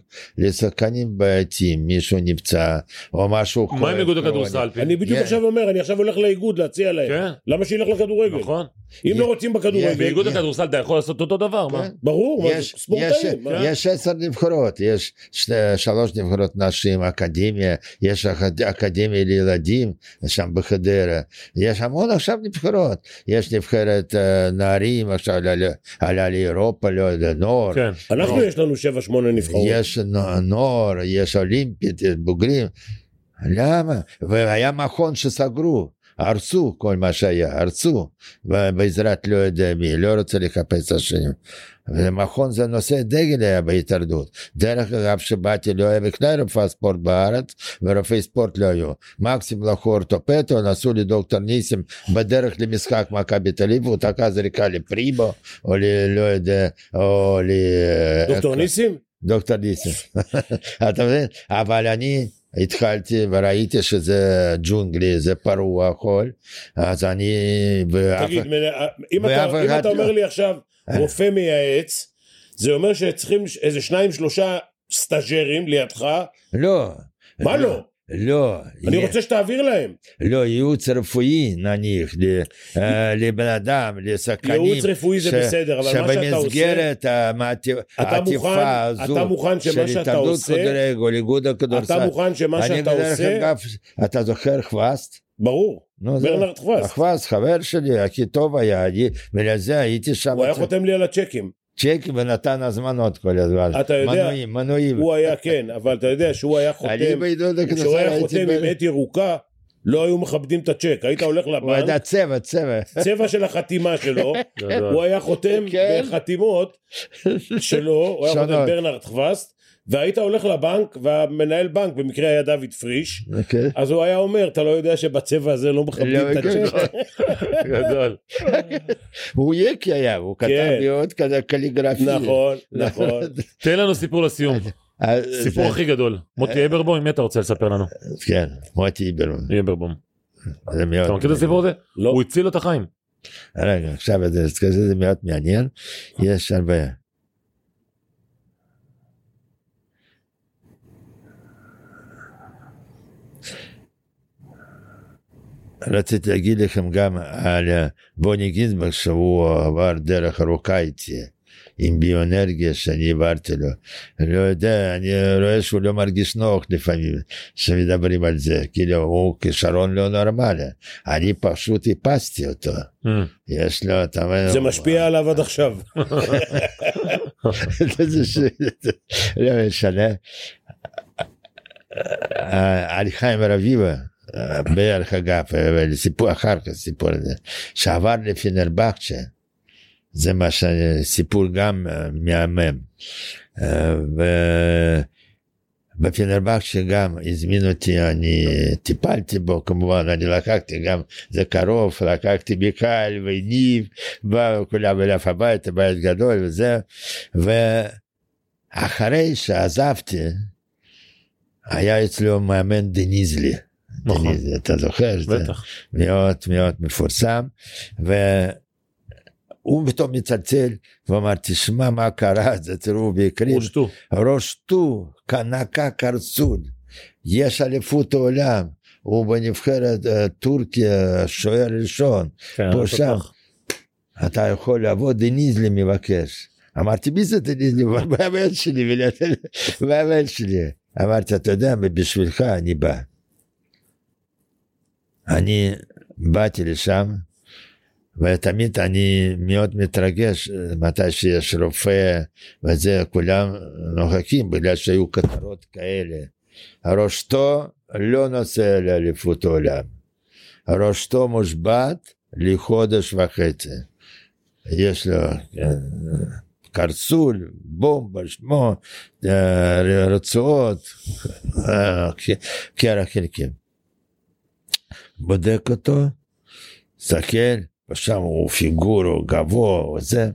לשחקנים בעייתיים, מישהו נפצע, או משהו
מה עם איגוד
כרוני.
הכדורסל? פתאום?
אני אה, בדיוק
Yeah.
עכשיו אומר, אני עכשיו הולך לאיגוד להציע להם.
כן,
למה שילך לכדורגל?
נכון.
אם
Yeah.
לא רוצים
Yeah.
בכדורגל,
באיגוד
כן.
הכדורסל אתה יכול לעשות אותו דבר, מה?
כן.
ברור, מה זה,
יש,
ספורטאים.
יש,
מה?
יש עשר נבחרות, יש שני, שלוש נבחרות נשים, אקדמיה, יש אקד- אקדמיה לילדים שם בחדרה, יש המון עכשיו נבחרות, יש נבחרת אה, נערים עכשיו עלה- עלה לאירופה, לא יודע, נוער,
כן.
אנחנו
לא.
יש לנו 7-8 נבחרות.
יש נו- נוער, יש אולימפית, יש בוגרים, למה? והיה מכון שסגרו. הרסו כל מה שהיה, הרסו, בעזרת לא יודע מי, לא רוצה לחפש אשמים. ומכון זה נושא דגל היה בהתאחדות. דרך אגב, שבאתי לא היה בכלל רופא ספורט בארץ, ורופאי ספורט לא היו. מקסימום לקחו אורתופטו, נסעו לדוקטור ניסים בדרך למשחק מכבי תל אביב, הוא תקע זריקה לפריבו, או ל... לא יודע, או ל... אה,
דוקטור ניסים?
דוקטור ניסים. אתה מבין? אבל אני התחלתי וראיתי שזה ג'ונגלי, זה פרוע הכל, אז אני... ואף-
תגיד, מנה- אה, אם אתה-
ואף
אם
אחד
אתה
לא.
אומר לי עכשיו, רופא מייעץ, זה אומר שצריכים איזה שניים שלושה סטאג'רים לידך,
לא.
מה לא?
לא,
אני
יה-
רוצה שתעביר להם.
לא, ייעוץ רפואי נניח ל- אה, לבן אדם, לשחקנים.
ייעוץ רפואי זה
ש-
בסדר, אבל מה שאתה עושה,
שבמסגרת המעטי-
אתה מוכן-
העטיפה
אתה
הזו
מוכן שמה
של
שאתה
התאחדות
עושה-
כדורגל, איגוד
אתה
הכדורסל.
מוכן שמה
אני
שאתה
בדרך
עושה,
אגב, אתה זוכר חווסט?
ברור,
נו, זהו.
ברנרד חוואס,
אחווה, חבר שלי, הכי טוב היה, אני, בגלל זה הייתי שם,
הוא היה
אצל
חותם לי על הצ'קים,
צ'ק ונתן הזמנות כל הזמן.
אתה יודע,
מנויים, מנויים.
הוא היה כן, אבל אתה יודע שהוא היה
אני
חותם,
בעידוד הכנסה
כשהוא היה
הייתי
חותם
בין-
עם עת ירוקה, לא היו מכבדים את הצ'ק, היית הולך
הוא היה
לבנק,
צבע, צבע.
צבע של החתימה שלו,
גדול.
הוא היה חותם
כן.
בחתימות שלו, הוא היה חותם
שונות.
ברנרד חווסט, והיית הולך לבנק, והמנהל בנק במקרה היה דוד פריש,
אוקיי.
אז הוא היה אומר, אתה לא יודע שבצבע הזה לא מכבדים
לא,
את
כן.
הצ'ק?
גדול.
הוא יקי היה, הוא
כן.
כתב לי עוד כזה קליגרפי.
נכון,
לא.
נכון.
תן לנו סיפור לסיום,
אז-
סיפור הכי גדול.
אה?
מוטי אברבום, מי אתה רוצה לספר לנו?
כן, מוטי איברמן.
אברבום.
זה מאוד
אתה מכיר את הסיפור הזה?
לא.
הוא הציל לו את החיים.
רגע, עכשיו זה- זה זה מאוד מעניין. יש הרבה. רציתי להגיד לכם גם על אה, בוני גינזברג שהוא עבר דרך ארוכה איתי עם ביואנרגיה שאני העברתי לו. לא יודע, אני רואה שהוא לא מרגיש נוח לפעמים שמדברים על זה, כאילו הוא כישרון לא נורמלי. אני פשוט איפסתי אותו.
אה.
יש לו, אתה אומר...
זה משפיע עליו עד עכשיו.
זה ש- לא משנה. אה, על חיים רביבה, אה, בערך אגב, אבל סיפור אחר כך, סיפור הזה, שעבר לפנרבחצ'ה, זה מה ש... סיפור גם אה, מהמם. אה, ו- בפנרבחצ'ה גם הזמין אותי, אני טיפלתי בו כמובן, אני לקחתי גם, זה קרוב, לקחתי מיכל וניב, באו כולם אליו הביתה, בית גדול וזה, ואחרי שעזבתי, היה אצלו מאמן דניזלי.
נכון.
דניזלי, אתה זוכר? זה
בטח.
מאוד מאוד מפורסם, והוא פתאום מצלצל ואמר, תשמע מה קרה, זה תראו בעיקרים,
הושתו.
רושטו, קנקה קרצון, יש אליפות העולם, הוא בנבחרת אה, טורקיה שוער ראשון, פה שם. אתה יכול לבוא, דניזלי מבקש. אמרתי, מי זה דניזלי? הוא אמר, "הבן שלי, ולא- והבן שלי. אמרתי, אתה יודע, בשבילך אני בא. אני באתי לשם, ותמיד אני מאוד מתרגש אה, מתי שיש רופא, וזה, כולם נוחקים, בגלל שהיו כותרות כאלה. ראשתו לא נוסע לאליפות העולם. ראשתו מושבת לחודש וחצי. יש לו אה, קרסול, בומבה, שמו, אה, רצועות, אה, ק- קרח חלקים. בודק אותו, מסתכל, ושם הוא פיגור, הוא גבוה, הוא זה.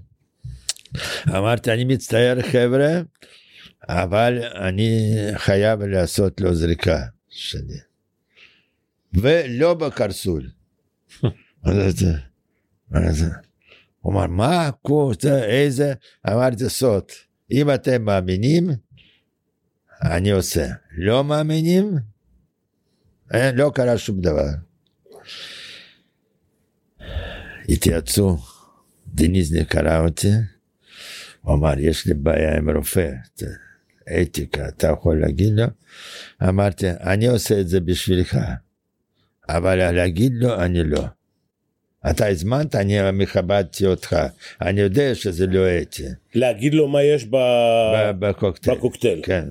אמרתי, אני מצטער חבר'ה, אבל אני חייב לעשות לו זריקה שלי. ולא בקרסול. אז זה- אז הוא אמר, מה, קורס, איזה? אמרתי, סוד. אם אתם מאמינים, אני עושה. לא מאמינים? אין, לא קרה שום דבר. התייעצו, דניזני קרא אותי, הוא אמר, יש לי בעיה עם רופא, ת- אתיקה, אתה יכול להגיד לו? אמרתי, אני עושה את זה בשבילך, אבל להגיד לו, אני לא. אתה הזמנת, אני מכבדתי אותך, אני יודע שזה לא אתי,
להגיד לו מה יש ב... אה,
ב- בקוקטייל.
בקוקטייל.
כן.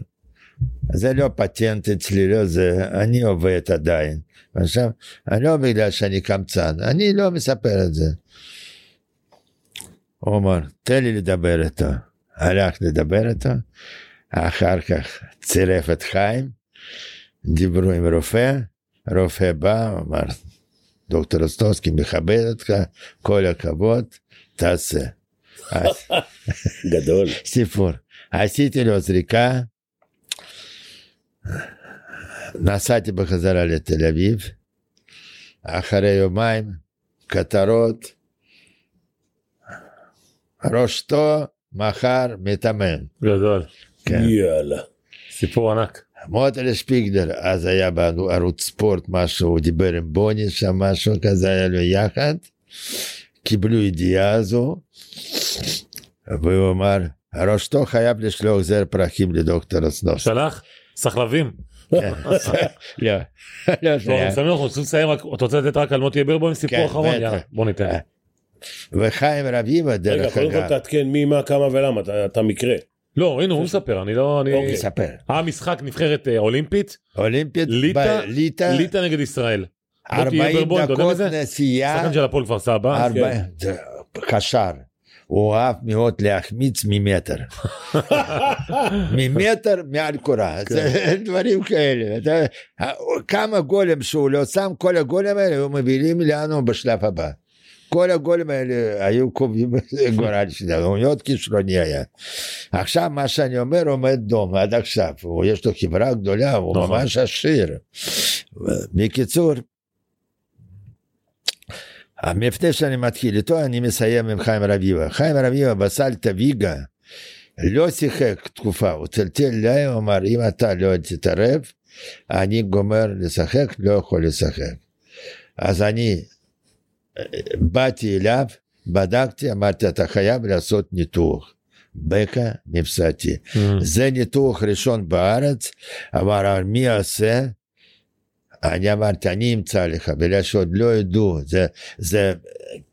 זה לא פטנט אצלי, לא זה, אני עובד עדיין. עכשיו, אני לא בגלל שאני קמצן, אני לא מספר את זה. עומר, תן לי לדבר איתו. הלך לדבר איתו, אחר כך צירף את חיים, דיברו עם רופא, רופא בא, אמר, דוקטור אוסטובסקי מכבד אותך, כל הכבוד, תעשה. אז-
גדול.
סיפור. עשיתי לו זריקה, נסעתי בחזרה לתל אביב, אחרי יומיים, כותרות, ראשתו מחר מתאמן.
גדול.
כן.
יאללה.
סיפור ענק.
מוטל שפיגלר אז היה בערוץ ספורט משהו, הוא דיבר עם בוני שם משהו כזה, היה לו יחד. קיבלו ידיעה הזו, והוא אמר, ראשתו חייב לשלוח זר פרחים לדוקטור אסנוס.
שלח? סחלבים?
כן. לא, לא
טוב,
שייך.
אני שמח, אנחנו רוצים לסיים, רק- אתה רוצה לתת רק על מוטי אברבוים סיפור
כן,
אחרון?
בטח.
יאללה, בוא ניתן.
אה, וחיים רביבה
רגע,
דרך
קודם כל
אגב,
תעדכן מי, מה, כמה ולמה, אתה- אתה מקרה.
לא, הנה הוא מספר, אני לא... אני-
אוקיי.
מספר,
המשחק נבחרת אה, אולימפית,
אולימפית,
ליטא-
בליטא,
ליטא נגד ישראל. מוטי
40
אברבוים, אתה יודע
דקות
מי זה?
נסיעה,
שחקן של הפועל כפר סבא. כן.
ארבע- קשר. הוא אהב מאוד להחמיץ ממטר. ממטר מעל קורה. זה דברים כאלה. אתה- כמה גולם שהוא לא שם, כל הגולם האלה היו מביאים לנו בשלב הבא. כל הגולים האלה היו קובעים גורל שלנו, הוא מאוד כישרוני היה. עכשיו מה שאני אומר עומד דום עד עכשיו, הוא, יש לו חברה גדולה, הוא
נכון.
ממש עשיר. בקיצור, לפני שאני מתחיל איתו, אני מסיים עם חיים רביבה. חיים רביבה בסלטה ויגה לא שיחק תקופה, הוא צלצל אליי, הוא אמר, אם אתה לא תתערב, אני גומר לשחק, לא יכול לשחק. אז אני אה, באתי אליו, בדקתי, אמרתי, אתה חייב לעשות ניתוח. בקע מבשרתי. זה ניתוח ראשון בארץ, אמר, "אבל מי יעשה? אני אמרתי, אני אמצא לך, בגלל שעוד לא ידעו, זה, זה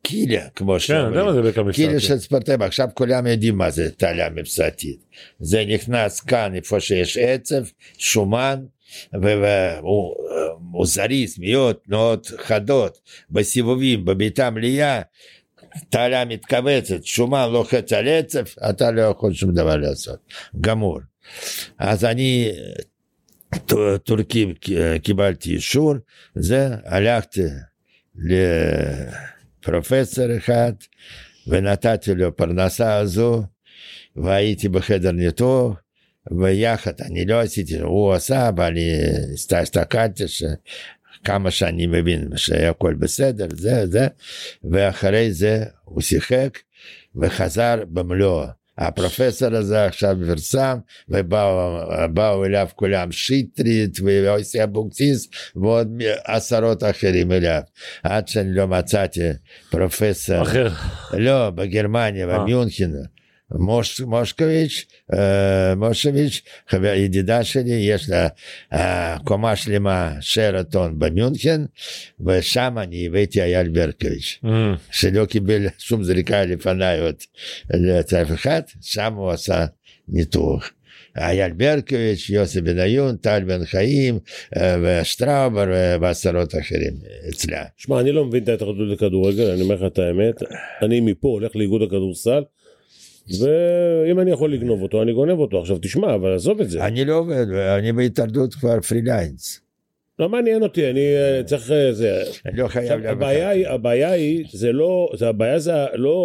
קילה, כמו
כן, אני יודע מה זה בקע
כאילו
מבשרתי.
של ספורטאים, עכשיו כולם יודעים מה זה תעלה מבשרתית. זה נכנס כאן איפה שיש עצב, שומן, והוא הוא זריז, מאוד מאוד חדות, בסיבובים, בביתה מליאה, תעלה מתכווצת, שומן לוחץ על עצב, אתה לא יכול שום דבר לעשות, גמור. אז אני טו- טורקים אה, קיבלתי אישור, זה, הלכתי לפרופסור אחד, ונתתי לו פרנסה הזו, והייתי בחדר ניתוח, ויחד, אני לא עשיתי, הוא עשה, אבל אני הסת- הסתכלתי ש... כמה שאני מבין שהכל בסדר, זה, זה, ואחרי זה הוא שיחק וחזר במלואו. הפרופסור הזה עכשיו פרסם, ובאו באו אליו כולם שטרית ואויסי אבוקסיס ועוד מ- עשרות אחרים אליו, עד שאני לא מצאתי פרופסור.
אחר.
לא, בגרמניה,
אה.
במיונכן. מוש, מושקוביץ', אה, מושקוביץ', חבר, ידידה שלי, יש לה אה, קומה שלמה שרתון במיונכן, ושם אני הבאתי אייל ברקוביץ',
אמ,
שלא קיבל שום זריקה לפניי עוד לצרף אחד, שם הוא עשה ניתוח. אייל ברקוביץ', יוסי בניון, טל בן חיים, אה, ושטראובר אה, ועשרות אחרים אצלה.
שמע, אני לא מבין את ההתאחדות לכדורגל, אני אומר לך את האמת. אני מפה הולך לאיגוד הכדורסל, ואם אני יכול לגנוב אותו, אני גונב אותו. עכשיו תשמע, אבל עזוב את זה.
אני לא עובד, אני בהתאחדות כבר פרילנס.
לא מעניין אותי, אני אה, צריך... אה, זה...
אני לא חייב
עכשיו,
לאף
הבעיה
אחד.
היא, הבעיה היא, זה לא, זה הבעיה זה לא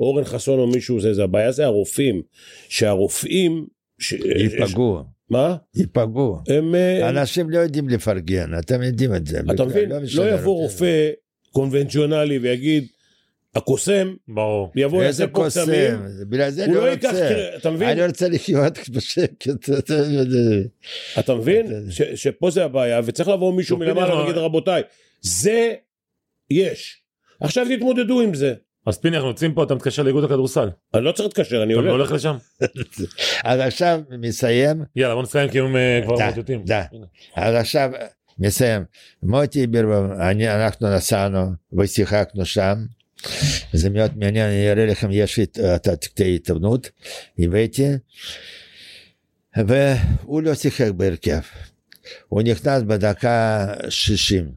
אורן חסון או מישהו, זה, זה הבעיה זה הרופאים, שהרופאים, ש... ש...
ייפגעו,
מה?
ייפגעו.
הם, אה,
אנשים לא יודעים לפרגן, אתם יודעים את זה.
אתה
בכלל,
מבין?
משנה
לא יבוא
רוצים.
רופא קונבנציונלי ויגיד, הקוסם
ברור.
יבוא
איזה
יעשה קוסמים,
קוסם, בגלל זה אני
הוא
לא
לא ייקח,
רוצה.
קר- אתה מבין?
אני לא- רוצה לחיות בשקט. אתה יודע.
אתה מבין? ש- שפה זה הבעיה, וצריך לבוא מישהו
לא,
מלמעלה
בדיוק.
ולהגיד רבותיי, זה יש. עכשיו תתמודדו עם זה.
אז פיני אנחנו יוצאים פה אתה מתקשר לאיגוד הכדורסל.
אני לא צריך להתקשר, אני
אתה
הולך.
הולך לשם?
אז עכשיו מסיים,
יאללה בוא נסיים כי הם אה, כבר
די,
מוטטים.
די. אז עכשיו מסיים. מוטי בירבום, אני, אנחנו נסענו ושיחקנו שם. זה מאוד מעניין, אני אראה לכם, יש לי את- את התקטעי עיתונות, הבאתי. והוא לא שיחק בהרכב. הוא נכנס בדקה 60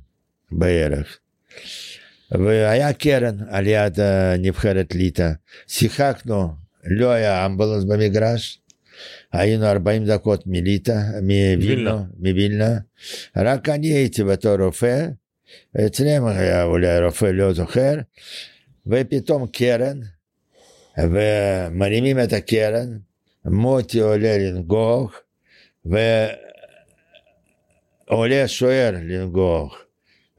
בערך. והיה קרן על יד אה, נבחרת ליטא. שיחקנו, לא היה אמבולנס במגרש. היינו 40 דקות מליטא,
וילנה.
מווילנה, מווילנה. רק אני הייתי בתור רופא, אצלם היה אולי רופא לא זוכר, ופתאום קרן, ומרימים את הקרן, מוטי עולה לנגוח, ועולה שוער לנגוח,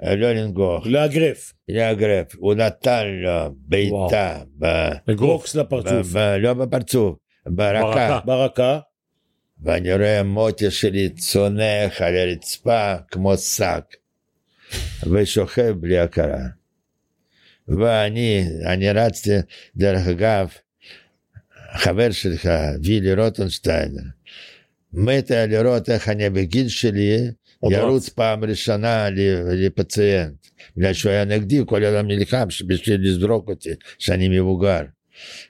אה, לא לנגוח,
לאגרף,
לאגרף, הוא נתן לו בעיטה, ב-
אגרוף.
בוקס לפרצוף,
ב- ב- לא בפרצוף,
ברקה.
ברקה,
ברקה,
ואני רואה מוטי שלי צונח על הרצפה כמו שק, ושוכב בלי הכרה. ואני, אני רצתי, דרך אגב, חבר שלך, וילי רוטנשטיינר, מת היה לראות איך אני בגיל שלי
עוד
ירוץ פעם ראשונה ל- לפציינט. בגלל שהוא היה נגדי, כל הזמן נלחם ש- בשביל לזרוק אותי, שאני מבוגר.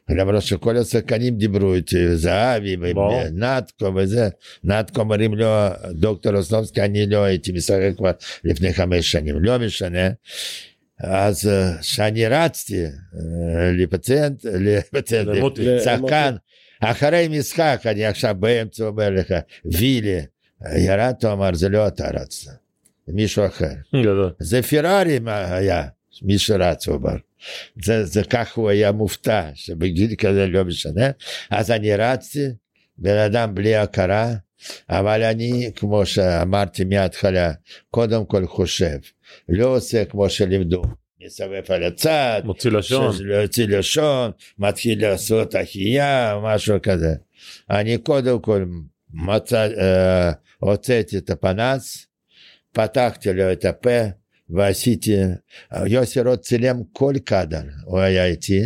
למרות שכל השחקנים דיברו איתי, זהבי, ו-
ברור.
נתקו וזה, נתקו אומרים לו, דוקטור אוסלובסקי, אני לא הייתי משחק כבר לפני חמש שנים, לא משנה. אז כשאני רצתי אה, לפציינט, לפציינט,
למוטי.
שחקן, אחרי משחק, אני עכשיו באמצע אומר לך, וילי, ירדת, הוא אמר, זה לא אתה רצת, מישהו אחר.
גדול.
זה פרארי מה היה, מי שרץ, הוא אמר. זה, זה כך הוא היה מופתע, שבגיל כזה לא משנה. אז אני רצתי, בן אדם בלי הכרה, אבל אני, כמו שאמרתי מההתחלה, קודם כל חושב, לא עושה כמו שלימדו, מסובב על הצד,
מוציא לשון.
של- להוציא לשון, מתחיל לעשות החייאה, משהו כזה. אני קודם כל מצא, אה, הוצאתי את הפנס, פתחתי לו את הפה ועשיתי, יוסי רוט צילם כל קאדר, הוא היה איתי,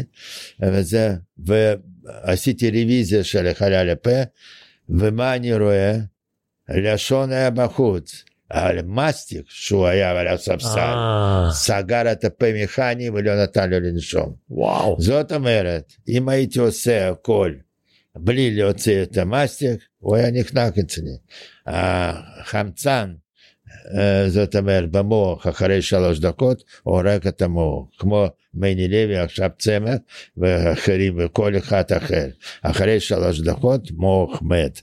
וזה, ועשיתי רוויזיה של חלל הפה, ומה אני רואה? לשון היה בחוץ, על מסטיק שהוא היה על הספסל.
אה,
סגר את הפה מכני ולא נתן לו לנשום.
וואו.
זאת אומרת, אם הייתי עושה הכל בלי להוציא את המסטיק, הוא היה נחנק אצלי. החמצן, אה, זאת אומרת, במוח אחרי שלוש דקות, הורג את המוח. כמו מני לוי, עכשיו צמח, ואחרים, וכל אחד אחר. אחרי שלוש דקות, מוח מת.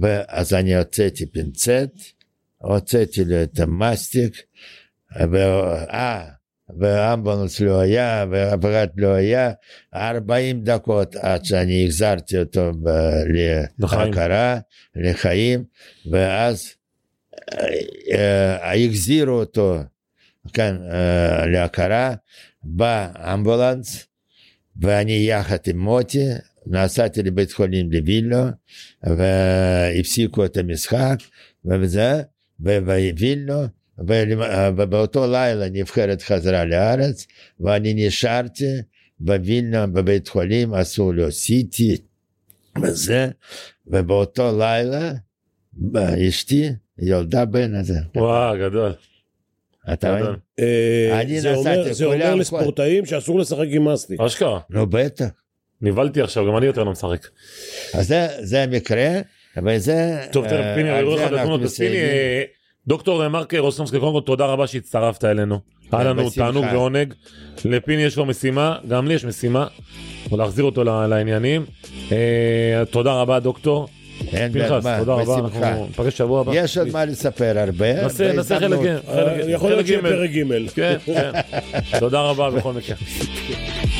ואז אני הוצאתי פינצט, הוצאתי לו את המסטיק, ואה, ואמבולנס לא היה, ואף אחד לא היה, 40 דקות עד שאני החזרתי אותו ב-
לחיים.
להכרה, לחיים, ואז אה, אה, החזירו אותו, כן, אה, להכרה, באמבולנס, ואני יחד עם מוטי, נסעתי לבית חולים לווילנו, והפסיקו את המשחק, וזה, ו- ווילנו, ול- ובאותו אה, לילה נבחרת חזרה לארץ, ואני נשארתי בווילנה בבית חולים, עשו לו סיטי וזה, ובאותו לילה אשתי ילדה בן הזה.
וואו גדול.
אתה מבין?
גדול.
אה,
אני
זה אומר-
נסעתי,
זה אומר
כולם-
לספורטאים שאסור לשחק עם מסטיק.
אשכרה.
נו בטח.
נבהלתי עכשיו גם אני יותר לא משחק.
אז זה, זה המקרה, וזה...
טוב, תכף
אה,
פיני,
על
אני רואה
זה
לך את
אנחנו
התמונות. אז פיני,
מסיימים.
אה, דוקטור אה, מרק רוסלומסקי, קודם כל תודה רבה שהצטרפת אלינו. היה לנו
אה, בשמחה.
תענוג ועונג. לפיני יש לו משימה, גם לי יש משימה. להחזיר אותו ל- לעניינים. אה, תודה רבה דוקטור.
אין
פנחס,
בעד מה,
תודה רבה.
בשמחה.
אנחנו ניפגש שבוע הבא.
יש עוד מה לספר הרבה.
נעשה נעשה חלק
בהזדמנות.
ג'- חלק-
אה, יכול להיות
אוקיי. חלק
שיהיה
ג'.
פרק ג'.
כן, כן. תודה רבה בכל מקרה.